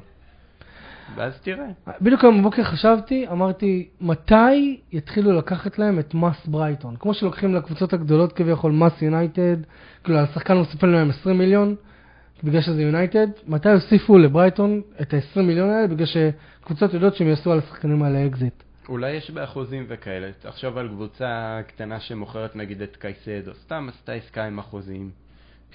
Speaker 2: ואז תראה.
Speaker 1: בדיוק היום בבוקר חשבתי, אמרתי, מתי יתחילו לקחת להם את מס ברייטון? כמו שלוקחים לקבוצות הגדולות כביכול, מס יונייטד, כאילו השחקן מוסיפים להם 20 מיליון, בגלל שזה יונייטד, מתי יוסיפו לברייטון את ה-20 מיליון האלה, בגלל שקבוצות יודעות שהם יעשו על השחקנים האלה אקזיט.
Speaker 2: אולי יש באחוזים וכאלה. תחשוב על קבוצה קטנה שמוכרת נגיד את קייסדו, סתם עשתה עסקה עם אחוזים.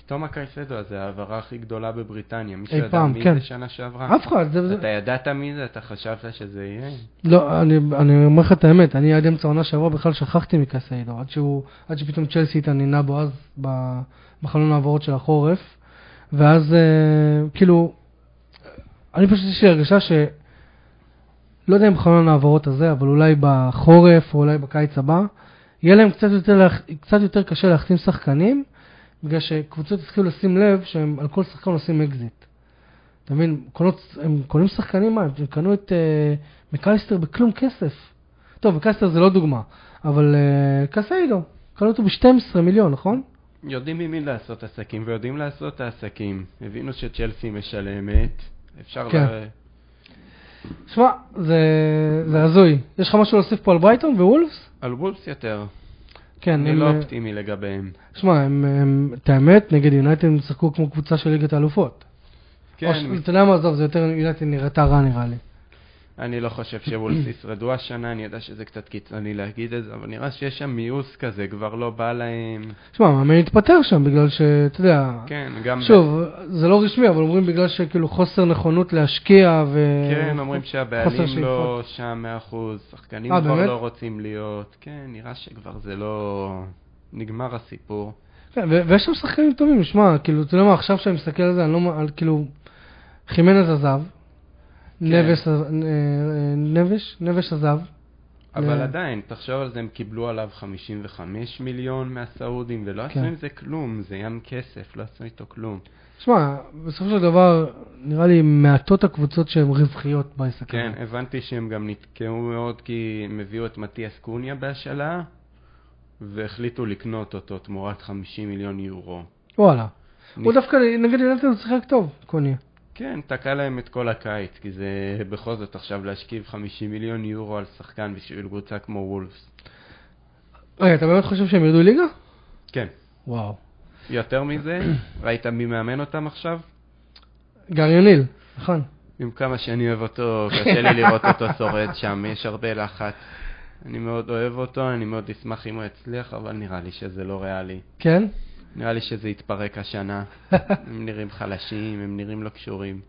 Speaker 2: פתאום הקייסדו הזה, ההעברה הכי גדולה בבריטניה. מישהו
Speaker 1: אי
Speaker 2: ידע
Speaker 1: פעם,
Speaker 2: מי
Speaker 1: כן.
Speaker 2: זה שנה שעברה?
Speaker 1: אף אחד, זה... זה-
Speaker 2: אתה ידעת מי זה? אתה חשבת שזה יהיה?
Speaker 1: לא, אני, אני אומר לך את האמת, אני עד אמצע העונה שעברה בכלל שכחתי מקסאידו, עד, שהוא, עד שפתאום צ'לסי התעניינה בו אז ב- בחלון העברות של החורף, ואז אה, כאילו, אני פשוט יש לי הרגשה ש... לא יודע אם בחלון העברות הזה, אבל אולי בחורף או אולי בקיץ הבא, יהיה להם קצת יותר, להח- קצת יותר קשה להחתים שחקנים, בגלל שקבוצות התחילו לשים לב שהם על כל שחקן עושים אקזיט. אתה מבין, קונות, הם קונים שחקנים, מה, הם קנו את אה, מקליסטר בכלום כסף. טוב, מקליסטר זה לא דוגמה, אבל אה, קסאידו, קנו אותו ב-12 מיליון, נכון?
Speaker 2: יודעים ממי לעשות עסקים ויודעים לעשות את העסקים. הבינו שצ'לסי משלמת. אפשר
Speaker 1: כן.
Speaker 2: ל...
Speaker 1: שמע, זה, זה הזוי. יש לך משהו להוסיף פה על ברייטון ווולפס?
Speaker 2: על וולפס יותר.
Speaker 1: כן,
Speaker 2: אני
Speaker 1: הם,
Speaker 2: לא
Speaker 1: אה,
Speaker 2: אופטימי לגביהם.
Speaker 1: שמע, הם, הם, את האמת, נגד יונייטד הם שיחקו כמו קבוצה של ליגת האלופות. או
Speaker 2: כן,
Speaker 1: ש- אתה יודע מה, עזוב, זה יותר יונייטד נראתה רע נראה לי.
Speaker 2: אני לא חושב שוולס ישרדו השנה, אני יודע שזה קצת קיצוני להגיד את זה, אבל נראה שיש שם מיאוס כזה, כבר לא בא להם.
Speaker 1: שמע, המאמן התפטר שם בגלל שאתה יודע,
Speaker 2: כן, גם...
Speaker 1: שוב, זה לא רשמי, אבל אומרים בגלל שכאילו חוסר נכונות להשקיע ו...
Speaker 2: כן, אומרים
Speaker 1: חוסר
Speaker 2: שהבעלים
Speaker 1: שאיפות.
Speaker 2: לא שם 100%, שחקנים
Speaker 1: אה,
Speaker 2: כבר
Speaker 1: באמת?
Speaker 2: לא רוצים להיות. כן, נראה שכבר זה לא... נגמר הסיפור.
Speaker 1: כן, ו- ויש שם שחקנים טובים, שמע, כאילו, אתה יודע מה, עכשיו שאני מסתכל על זה, אני לא... מ- על- כאילו, חימנז עזב,
Speaker 2: כן.
Speaker 1: נבש, עז- אה, אה, נבש, נבש עזב,
Speaker 2: אבל
Speaker 1: אה.
Speaker 2: עדיין, תחשוב על זה, הם קיבלו עליו 55 מיליון מהסעודים, ולא עשו
Speaker 1: כן.
Speaker 2: עם זה כלום, זה ים כסף, לא עשו איתו כלום.
Speaker 1: שמע, בסופו של דבר, נראה לי מעטות הקבוצות שהן רווחיות בעסק
Speaker 2: כן,
Speaker 1: הזה.
Speaker 2: הבנתי שהם גם נתקעו מאוד כי הם הביאו את מתיאס קוניה בהשאלה, והחליטו לקנות אותו תמורת 50 מיליון יורו.
Speaker 1: וואלה.
Speaker 2: אני-
Speaker 1: הוא דווקא, נגד יונתן הוא שיחק טוב, קוני.
Speaker 2: כן, תקע להם את כל הקיץ, כי זה בכל זאת עכשיו להשכיב 50 מיליון יורו על שחקן בשביל קבוצה כמו וולפס.
Speaker 1: רגע, אתה באמת חושב שהם ירדו ליגה?
Speaker 2: כן.
Speaker 1: וואו.
Speaker 2: יותר מזה, ראית מי מאמן אותם עכשיו?
Speaker 1: גארי יוניל, נכון.
Speaker 2: עם כמה שאני אוהב אותו, קשה לי לראות אותו שורד שם, יש הרבה לחץ. אני מאוד אוהב אותו, אני מאוד אשמח אם הוא יצליח, אבל נראה לי שזה לא ריאלי.
Speaker 1: כן?
Speaker 2: נראה לי שזה יתפרק השנה. הם נראים חלשים, הם נראים לא קשורים.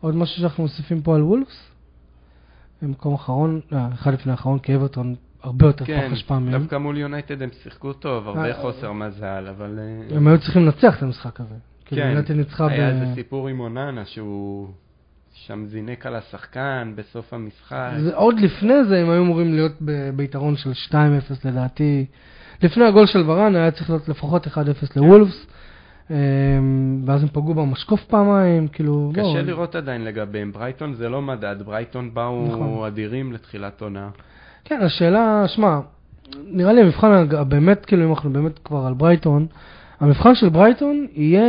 Speaker 1: עוד משהו שאנחנו מוסיפים פה על וולפס? במקום אחרון, לא, אחד לפני האחרון, כי אברטון הרבה יותר
Speaker 2: כן,
Speaker 1: פחות השפעה מהם.
Speaker 2: דווקא מול יונייטד הם שיחקו טוב,
Speaker 1: אה,
Speaker 2: הרבה חוסר מזל, אבל... אה,
Speaker 1: הם היו צריכים לנצח את המשחק הזה. כאילו,
Speaker 2: כן,
Speaker 1: יונתן ניצחה ב...
Speaker 2: היה איזה סיפור עם אוננה שהוא שם זינק על השחקן בסוף המשחק.
Speaker 1: זה, עוד לפני זה הם היו אמורים להיות ב... ביתרון של 2-0 לדעתי. לפני הגול של ורן היה צריך להיות לפחות 1-0
Speaker 2: כן.
Speaker 1: לוולפס. אמ, ואז הם פגעו במשקוף פעמיים, כאילו... בואו,
Speaker 2: קשה לראות עדיין לגביהם, ברייטון זה לא מדד, ברייטון
Speaker 1: נכון.
Speaker 2: באו אדירים לתחילת עונה.
Speaker 1: כן, השאלה, שמע, נראה לי המבחן הג- באמת, כאילו, אם אנחנו באמת כבר על ברייטון, המבחן של ברייטון יהיה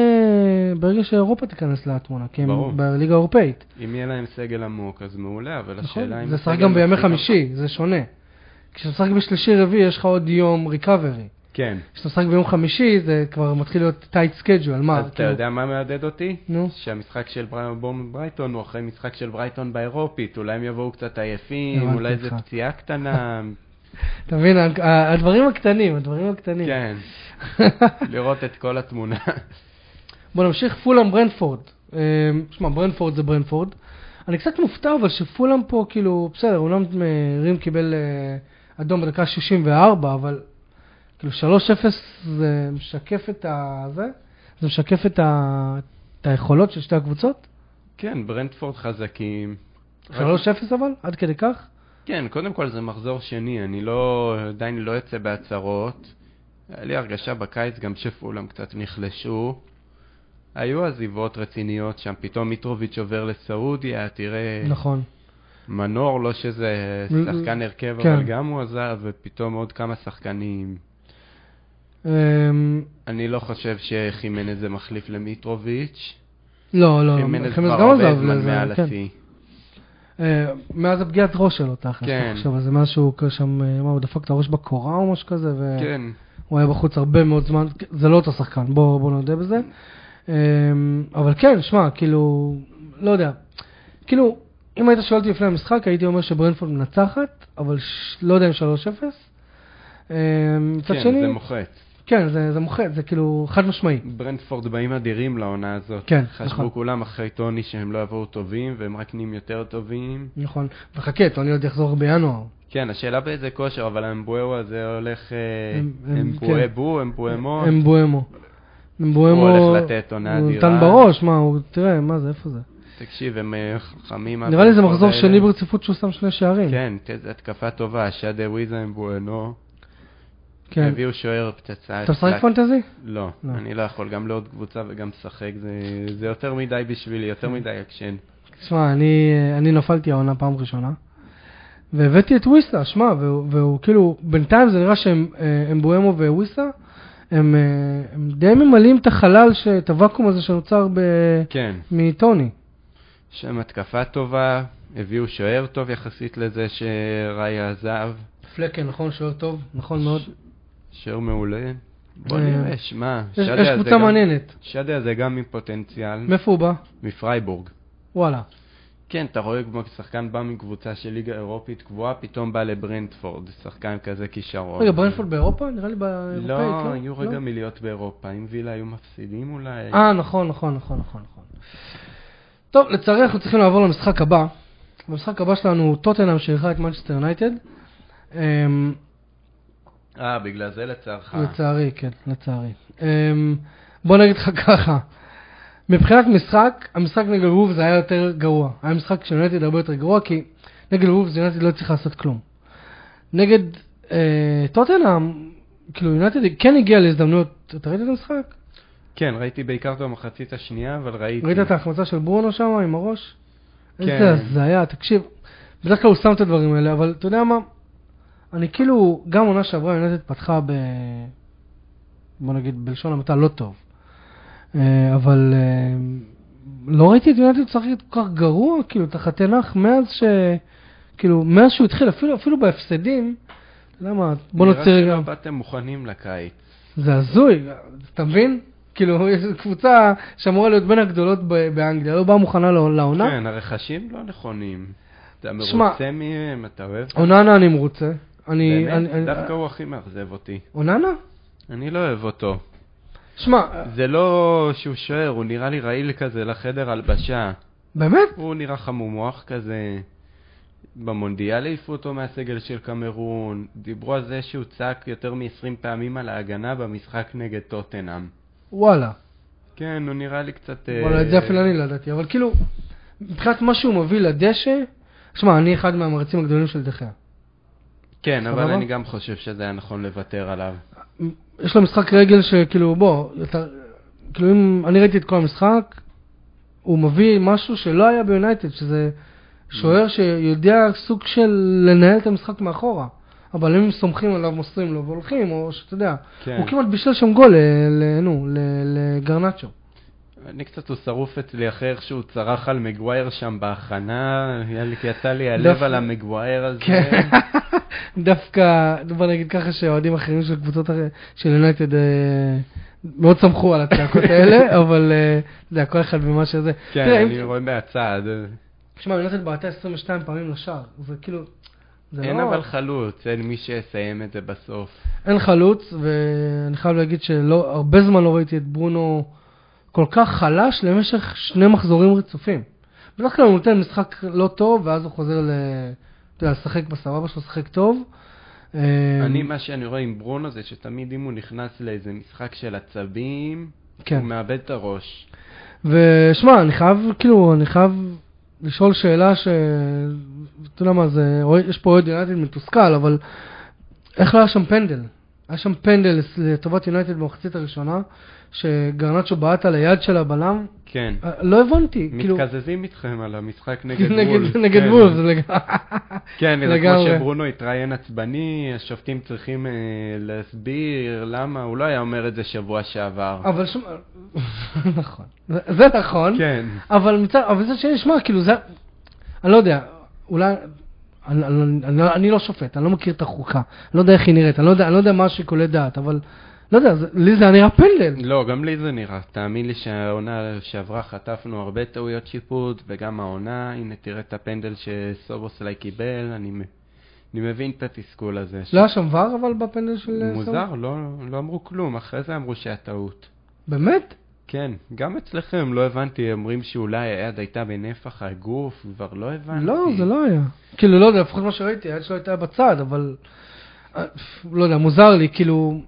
Speaker 1: ברגע שאירופה תיכנס לתמונה, כי
Speaker 2: ברור.
Speaker 1: הם בליגה האירופאית.
Speaker 2: אם יהיה להם סגל עמוק אז מעולה, אבל
Speaker 1: נכון?
Speaker 2: השאלה אם...
Speaker 1: זה שחק
Speaker 2: הסגל
Speaker 1: גם בימי
Speaker 2: מספיק עמוק.
Speaker 1: חמישי, זה שונה. כשאתה משחק בשלישי-רביעי יש לך עוד יום ריקאברי.
Speaker 2: כן.
Speaker 1: כשאתה משחק ביום חמישי זה כבר מתחיל להיות טייט סקייג'ואל, מה?
Speaker 2: אז אתה
Speaker 1: כאילו-
Speaker 2: יודע מה מהדהד אותי?
Speaker 1: נו.
Speaker 2: שהמשחק של בר- בורמוט ברייטון הוא אחרי משחק של ברייטון באירופית, אולי הם יבואו קצת עייפים,
Speaker 1: הבנתי
Speaker 2: אולי זו
Speaker 1: אותך.
Speaker 2: פציעה קטנה,
Speaker 1: אתה מבין, ה- ה- הדברים הקטנים, הדברים הקטנים.
Speaker 2: כן, לראות את כל התמונה.
Speaker 1: בוא נמשיך, פולאם ברנפורד. אמ, שמע, ברנפורד זה ברנפורד. אני קצת מופתע אבל שפולאם פה, כאילו, בסדר, אומנם אה, רים קיבל אה, אדום בדקה 64, אבל כאילו 3-0 זה משקף את ה... זה? זה משקף את, ה... את היכולות של שתי הקבוצות?
Speaker 2: כן, ברנדפורד חזקים.
Speaker 1: 3-0 אבל? עד כדי כך?
Speaker 2: כן, קודם כל זה מחזור שני, אני לא, עדיין לא יוצא בהצהרות. היה לי הרגשה בקיץ גם שפולם קצת נחלשו. היו עזיבות רציניות שם, פתאום מיטרוביץ' עובר לסעודיה, תראה,
Speaker 1: נכון.
Speaker 2: מנור, לא שזה
Speaker 1: מ-
Speaker 2: שחקן הרכב,
Speaker 1: כן.
Speaker 2: אבל גם הוא עזב, ופתאום עוד כמה שחקנים.
Speaker 1: אמ,
Speaker 2: אני לא חושב שחימנז זה מחליף למיטרוביץ'.
Speaker 1: לא, לא, לא,
Speaker 2: חימנז
Speaker 1: חמאס
Speaker 2: כבר
Speaker 1: גם
Speaker 2: הרבה
Speaker 1: עזב
Speaker 2: זמן
Speaker 1: לזה,
Speaker 2: מעל
Speaker 1: כן.
Speaker 2: השיא.
Speaker 1: אה, מאז הפגיעת ראש שלו, תכל'ס,
Speaker 2: כן.
Speaker 1: אתה חושב על זה, מאז שהוא שם, אה, מה, הוא דפק את הראש בקורה או משהו כזה? ו...
Speaker 2: כן,
Speaker 1: הוא היה בחוץ הרבה מאוד זמן, זה לא אותו שחקן, בוא, בוא נודה בזה. אמ, אבל כן, שמע, כאילו, לא יודע. כאילו, אם היית שואל אותי לפני המשחק, הייתי אומר שברנפורד מנצחת, אבל ש... לא יודע אם 3-0. אמ, מצד
Speaker 2: כן,
Speaker 1: שני,
Speaker 2: זה מוחץ.
Speaker 1: כן, זה, זה מוחד, זה כאילו חד משמעי.
Speaker 2: ברנדפורד באים אדירים לעונה הזאת.
Speaker 1: כן, נכון.
Speaker 2: חשבו כולם אחרי טוני שהם לא יבואו טובים, והם רק נהיים יותר טובים.
Speaker 1: נכון. וחכה, טוני עוד יחזור בינואר.
Speaker 2: כן, השאלה באיזה כושר, אבל האמבואו הזה הולך... אה,
Speaker 1: הם- הם-
Speaker 2: אמבואה
Speaker 1: כן.
Speaker 2: בו, אמבואה מו.
Speaker 1: אמבואמו. אמבואמו,
Speaker 2: נכון. הולך לתת עונה
Speaker 1: הוא
Speaker 2: אדירה.
Speaker 1: נתן בראש, מה, הוא, תראה, מה זה, איפה זה?
Speaker 2: תקשיב, הם אה, חכמים.
Speaker 1: נראה לי זה
Speaker 2: הפרנדפורד
Speaker 1: מחזור
Speaker 2: האלה.
Speaker 1: שני ברציפות שהוא שם שני שערים.
Speaker 2: כן, איזו התקפה טובה, שדה וויזה אמבואנו.
Speaker 1: כן.
Speaker 2: הביאו שוער פצצה.
Speaker 1: אתה משחק
Speaker 2: הצלק-
Speaker 1: פנטזי?
Speaker 2: לא,
Speaker 1: לא.
Speaker 2: אני לא יכול, גם לעוד קבוצה וגם לשחק, זה- זה יותר מדי בשבילי, יותר מדי אקשן.
Speaker 1: שמע, אני, אני נפלתי העונה פעם ראשונה, והבאתי את וויסה, שמע, והוא, והוא כאילו, בינתיים זה נראה שהם אה, אמבואמו וויסה, הם, אה, הם די ממלאים את החלל, ש- את הוואקום הזה שנוצר ב,
Speaker 2: כן.
Speaker 1: מטוני.
Speaker 2: יש להם התקפה טובה, הביאו שוער טוב יחסית לזה שראיה עזב,
Speaker 1: פלקן, נכון, שוער טוב, נכון מאוד.
Speaker 2: שוער מעולה. בוא
Speaker 1: אה,
Speaker 2: נראה, שמע,
Speaker 1: יש, יש
Speaker 2: שדה הזה
Speaker 1: קבוצה
Speaker 2: גם-
Speaker 1: מעניינת.
Speaker 2: שדה הזה גם עם פוטנציאל,
Speaker 1: מאיפה הוא בא?
Speaker 2: מפרייבורג.
Speaker 1: וואלה.
Speaker 2: כן, אתה רואה כמו שחקן בא מקבוצה של ליגה אירופית קבועה, פתאום בא לברנדפורד, שחקן כזה כישרון.
Speaker 1: רגע, ברנפורד באירופה? נראה לי באירופאית, לא?
Speaker 2: נכון. לא, היו רגע מלהיות באירופה, אם וילה היו מפסידים אולי.
Speaker 1: אה, נכון, נכון, נכון, נכון, נכון. טוב, לצערי אנחנו צריכים לעבור למשחק הבא. המשחק הבא שלנו הוא טוטנאם שאירחה את מנצ'סטר יונייטד. אמ,
Speaker 2: אה, בגלל זה לצערך.
Speaker 1: לצערי, כן, לצערי. אמ, בוא נגיד לך ככה, מבחינת משחק, המשחק נגד וולפס היה יותר גרוע. היה משחק של יונייטד הרבה יותר גרוע, כי נגד וולפס יונייטד לא צריכה לעשות כלום. נגד אה, טוטנאם, כאילו יונייטד כן הגיע להזדמנויות, אתה ראית את המשחק?
Speaker 2: כן, ראיתי בעיקר את המחצית השנייה, אבל ראיתי.
Speaker 1: ראית את ההחמצה של ברונו שם עם הראש?
Speaker 2: כן.
Speaker 1: איזה הזיה, תקשיב. בדרך כלל הוא שם את הדברים האלה, אבל אתה יודע מה? אני כאילו, גם עונה שעברה יונתת פתחה ב... בוא נגיד, בלשון המעטה לא טוב. אה, אבל אה, לא ראיתי את יונתת משחקת כל כך גרוע, כאילו, תחת תנח מאז ש... כאילו, מאז שהוא התחיל, אפילו, אפילו בהפסדים, אתה יודע מה, בוא נוציא רגע...
Speaker 2: נראה שלא באתם מוכנים לקיץ.
Speaker 1: זה הזוי, אתה מבין? כאילו, יש קבוצה שאמורה להיות בין הגדולות ב- באנגליה, לא באה מוכנה לא- לעונה.
Speaker 2: כן, הרכשים לא נכונים. אתה
Speaker 1: שמע,
Speaker 2: מרוצה מהם, אתה אוהב?
Speaker 1: אוננה אני מרוצה. אני... אני- אני-
Speaker 2: באמת, דווקא הוא הכי מאכזב אותי.
Speaker 1: אוננה?
Speaker 2: אני לא אוהב אותו.
Speaker 1: שמע,
Speaker 2: זה לא שהוא שוער, הוא נראה לי רעיל כזה לחדר הלבשה.
Speaker 1: באמת?
Speaker 2: הוא נראה חמום מוח כזה. במונדיאל העיפו אותו מהסגל של קמרון. דיברו על זה שהוא צעק יותר מ-20 פעמים על ההגנה במשחק נגד טוטנאם.
Speaker 1: וואלה.
Speaker 2: כן, הוא נראה לי קצת... אה,
Speaker 1: וואלה, את זה אפילו אני לא ידעתי. אבל כאילו, מבחינת מה שהוא מביא לדשא, שמע, אני אחד מהמרצים הגדולים של דחיה.
Speaker 2: כן, אבל
Speaker 1: סבבה?
Speaker 2: אני גם חושב שזה היה נכון לוותר עליו.
Speaker 1: יש לו משחק רגל שכאילו, בוא, אתה, כאילו אם אני ראיתי את כל המשחק, הוא מביא משהו שלא היה ביונייטד, שזה שוער שיודע סוג של לנהל את המשחק מאחורה. אבל אם סומכים עליו, מוסרים לו והולכים, או שאתה יודע,
Speaker 2: כן.
Speaker 1: הוא כמעט בישל שם גול, ל- ל- נו, ל- לגרנצ'ו.
Speaker 2: אני קצת הוא שרוף אצלי אחרי איך שהוא צרח על מגווייר שם בהכנה, היה לי- יצא לי הלב
Speaker 1: דווקא-
Speaker 2: על המגווייר הזה.
Speaker 1: כן. דווקא, בוא נגיד ככה, שאוהדים אחרים של קבוצות אחר- של יונייטד אה, מאוד סמכו על הצעקות האלה, אבל אה, אתה יודע, כל אחד ומה שזה. תראה,
Speaker 2: כן,
Speaker 1: אם-
Speaker 2: אני רואה מהצד.
Speaker 1: שמע, יונתן בעטה 22 פעמים לשער, זה כאילו... זה
Speaker 2: אין
Speaker 1: לא...
Speaker 2: אבל חלוץ, אין מי שיסיים את זה בסוף.
Speaker 1: אין חלוץ, ואני חייב להגיד שהרבה זמן לא ראיתי את ברונו כל כך חלש למשך שני מחזורים רצופים. בדרך כלל הוא נותן משחק לא טוב, ואז הוא חוזר ל... אתה יודע, לשחק בסבבה שלו, לשחק טוב. אה,
Speaker 2: אני, מה שאני רואה עם ברונו זה שתמיד אם הוא נכנס לאיזה משחק של עצבים,
Speaker 1: כן.
Speaker 2: הוא מאבד את הראש.
Speaker 1: ושמע, אני חייב, כאילו, אני חייב לשאול שאלה ש... אתה יודע מה זה, אוהד- יש פה אוהד יונייטד מתוסכל, אבל איך לא היה שם פנדל? היה שם פנדל לטובת יונייטד במחצית הראשונה, שגרנצ'ו בעט על היד של הבלם,
Speaker 2: כן.
Speaker 1: אה, לא הבנתי, כאילו...
Speaker 2: מתקזזים איתכם על המשחק נגד וולף.
Speaker 1: נגד- נגד
Speaker 2: כן.
Speaker 1: וולף, זה לגמרי.
Speaker 2: כן, זה כמו
Speaker 1: לגמרי.
Speaker 2: שברונו התראיין עצבני, השופטים צריכים אה, להסביר למה, הוא לא היה אומר את זה שבוע שעבר.
Speaker 1: אבל שמע, נכון, זה זה נכון,
Speaker 2: כן.
Speaker 1: אבל מצד, אבל זה שני, שמע, כאילו זה, אני לא יודע, אולי, אני, אני, אני, אני לא שופט, אני לא מכיר את החוקה, אני לא יודע איך היא נראית, אני לא יודע, אני לא יודע מה שיקולי דעת, אבל, לא יודע, זה, לי זה היה נראה פנדל.
Speaker 2: לא, גם לי זה נראה. תאמין לי שהעונה שעברה חטפנו הרבה טעויות שיפוט, וגם העונה, הנה תראה את הפנדל שסובוסליי קיבל, אני, מ- אני מבין את התסכול הזה.
Speaker 1: לא היה שם ור אבל בפנדל של... סאו?
Speaker 2: מוזר, לא, לא אמרו כלום, אחרי זה אמרו שהיה טעות.
Speaker 1: באמת?
Speaker 2: כן, גם אצלכם לא הבנתי, אומרים שאולי היד הייתה בנפח הגוף, כבר לא הבנתי.
Speaker 1: לא, זה לא היה. כאילו, לא יודע, לפחות מה שראיתי, היד שלו הייתה בצד, אבל, אה, לא יודע, מוזר לי, כאילו,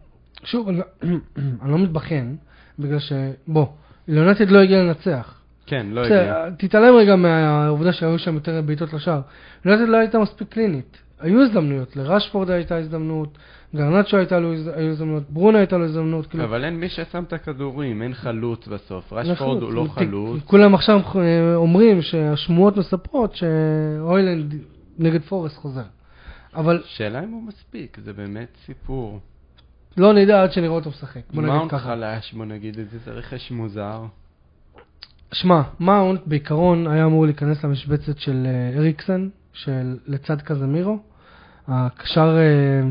Speaker 1: שוב, אני, אני לא מתבכיין, בגלל ש... בוא, ליונטד לא הגיע לנצח.
Speaker 2: כן, לא
Speaker 1: בסדר,
Speaker 2: הגיע.
Speaker 1: תתעלם רגע מהעובדה שהיו שם יותר בעיטות לשער. יונתן לא הייתה מספיק קלינית. היו הזדמנויות, לרשפורד הייתה הזדמנות, גרנצ'ו הייתה לו הזד- היו הזדמנות, ברונו הייתה לו הזדמנות. כאילו,
Speaker 2: אבל אין מי ששם את הכדורים, אין חלוץ בסוף.
Speaker 1: אין
Speaker 2: רשפורד הוא לא
Speaker 1: ת-
Speaker 2: חלוץ.
Speaker 1: כולם עכשיו אה, אומרים שהשמועות מספרות שהוילנד נגד פורסט חוזר. אבל
Speaker 2: שאלה אם הוא מספיק, זה באמת סיפור.
Speaker 1: לא נדע עד שנראה אותו משחק. בוא נגיד
Speaker 2: מאונט
Speaker 1: ככה.
Speaker 2: חלש, בוא נגיד את זה, זה רכש מוזר.
Speaker 1: שמע, מאונט בעיקרון היה אמור להיכנס למשבצת של אה, אריקסן, של לצד קזמירו. הקשר, אה,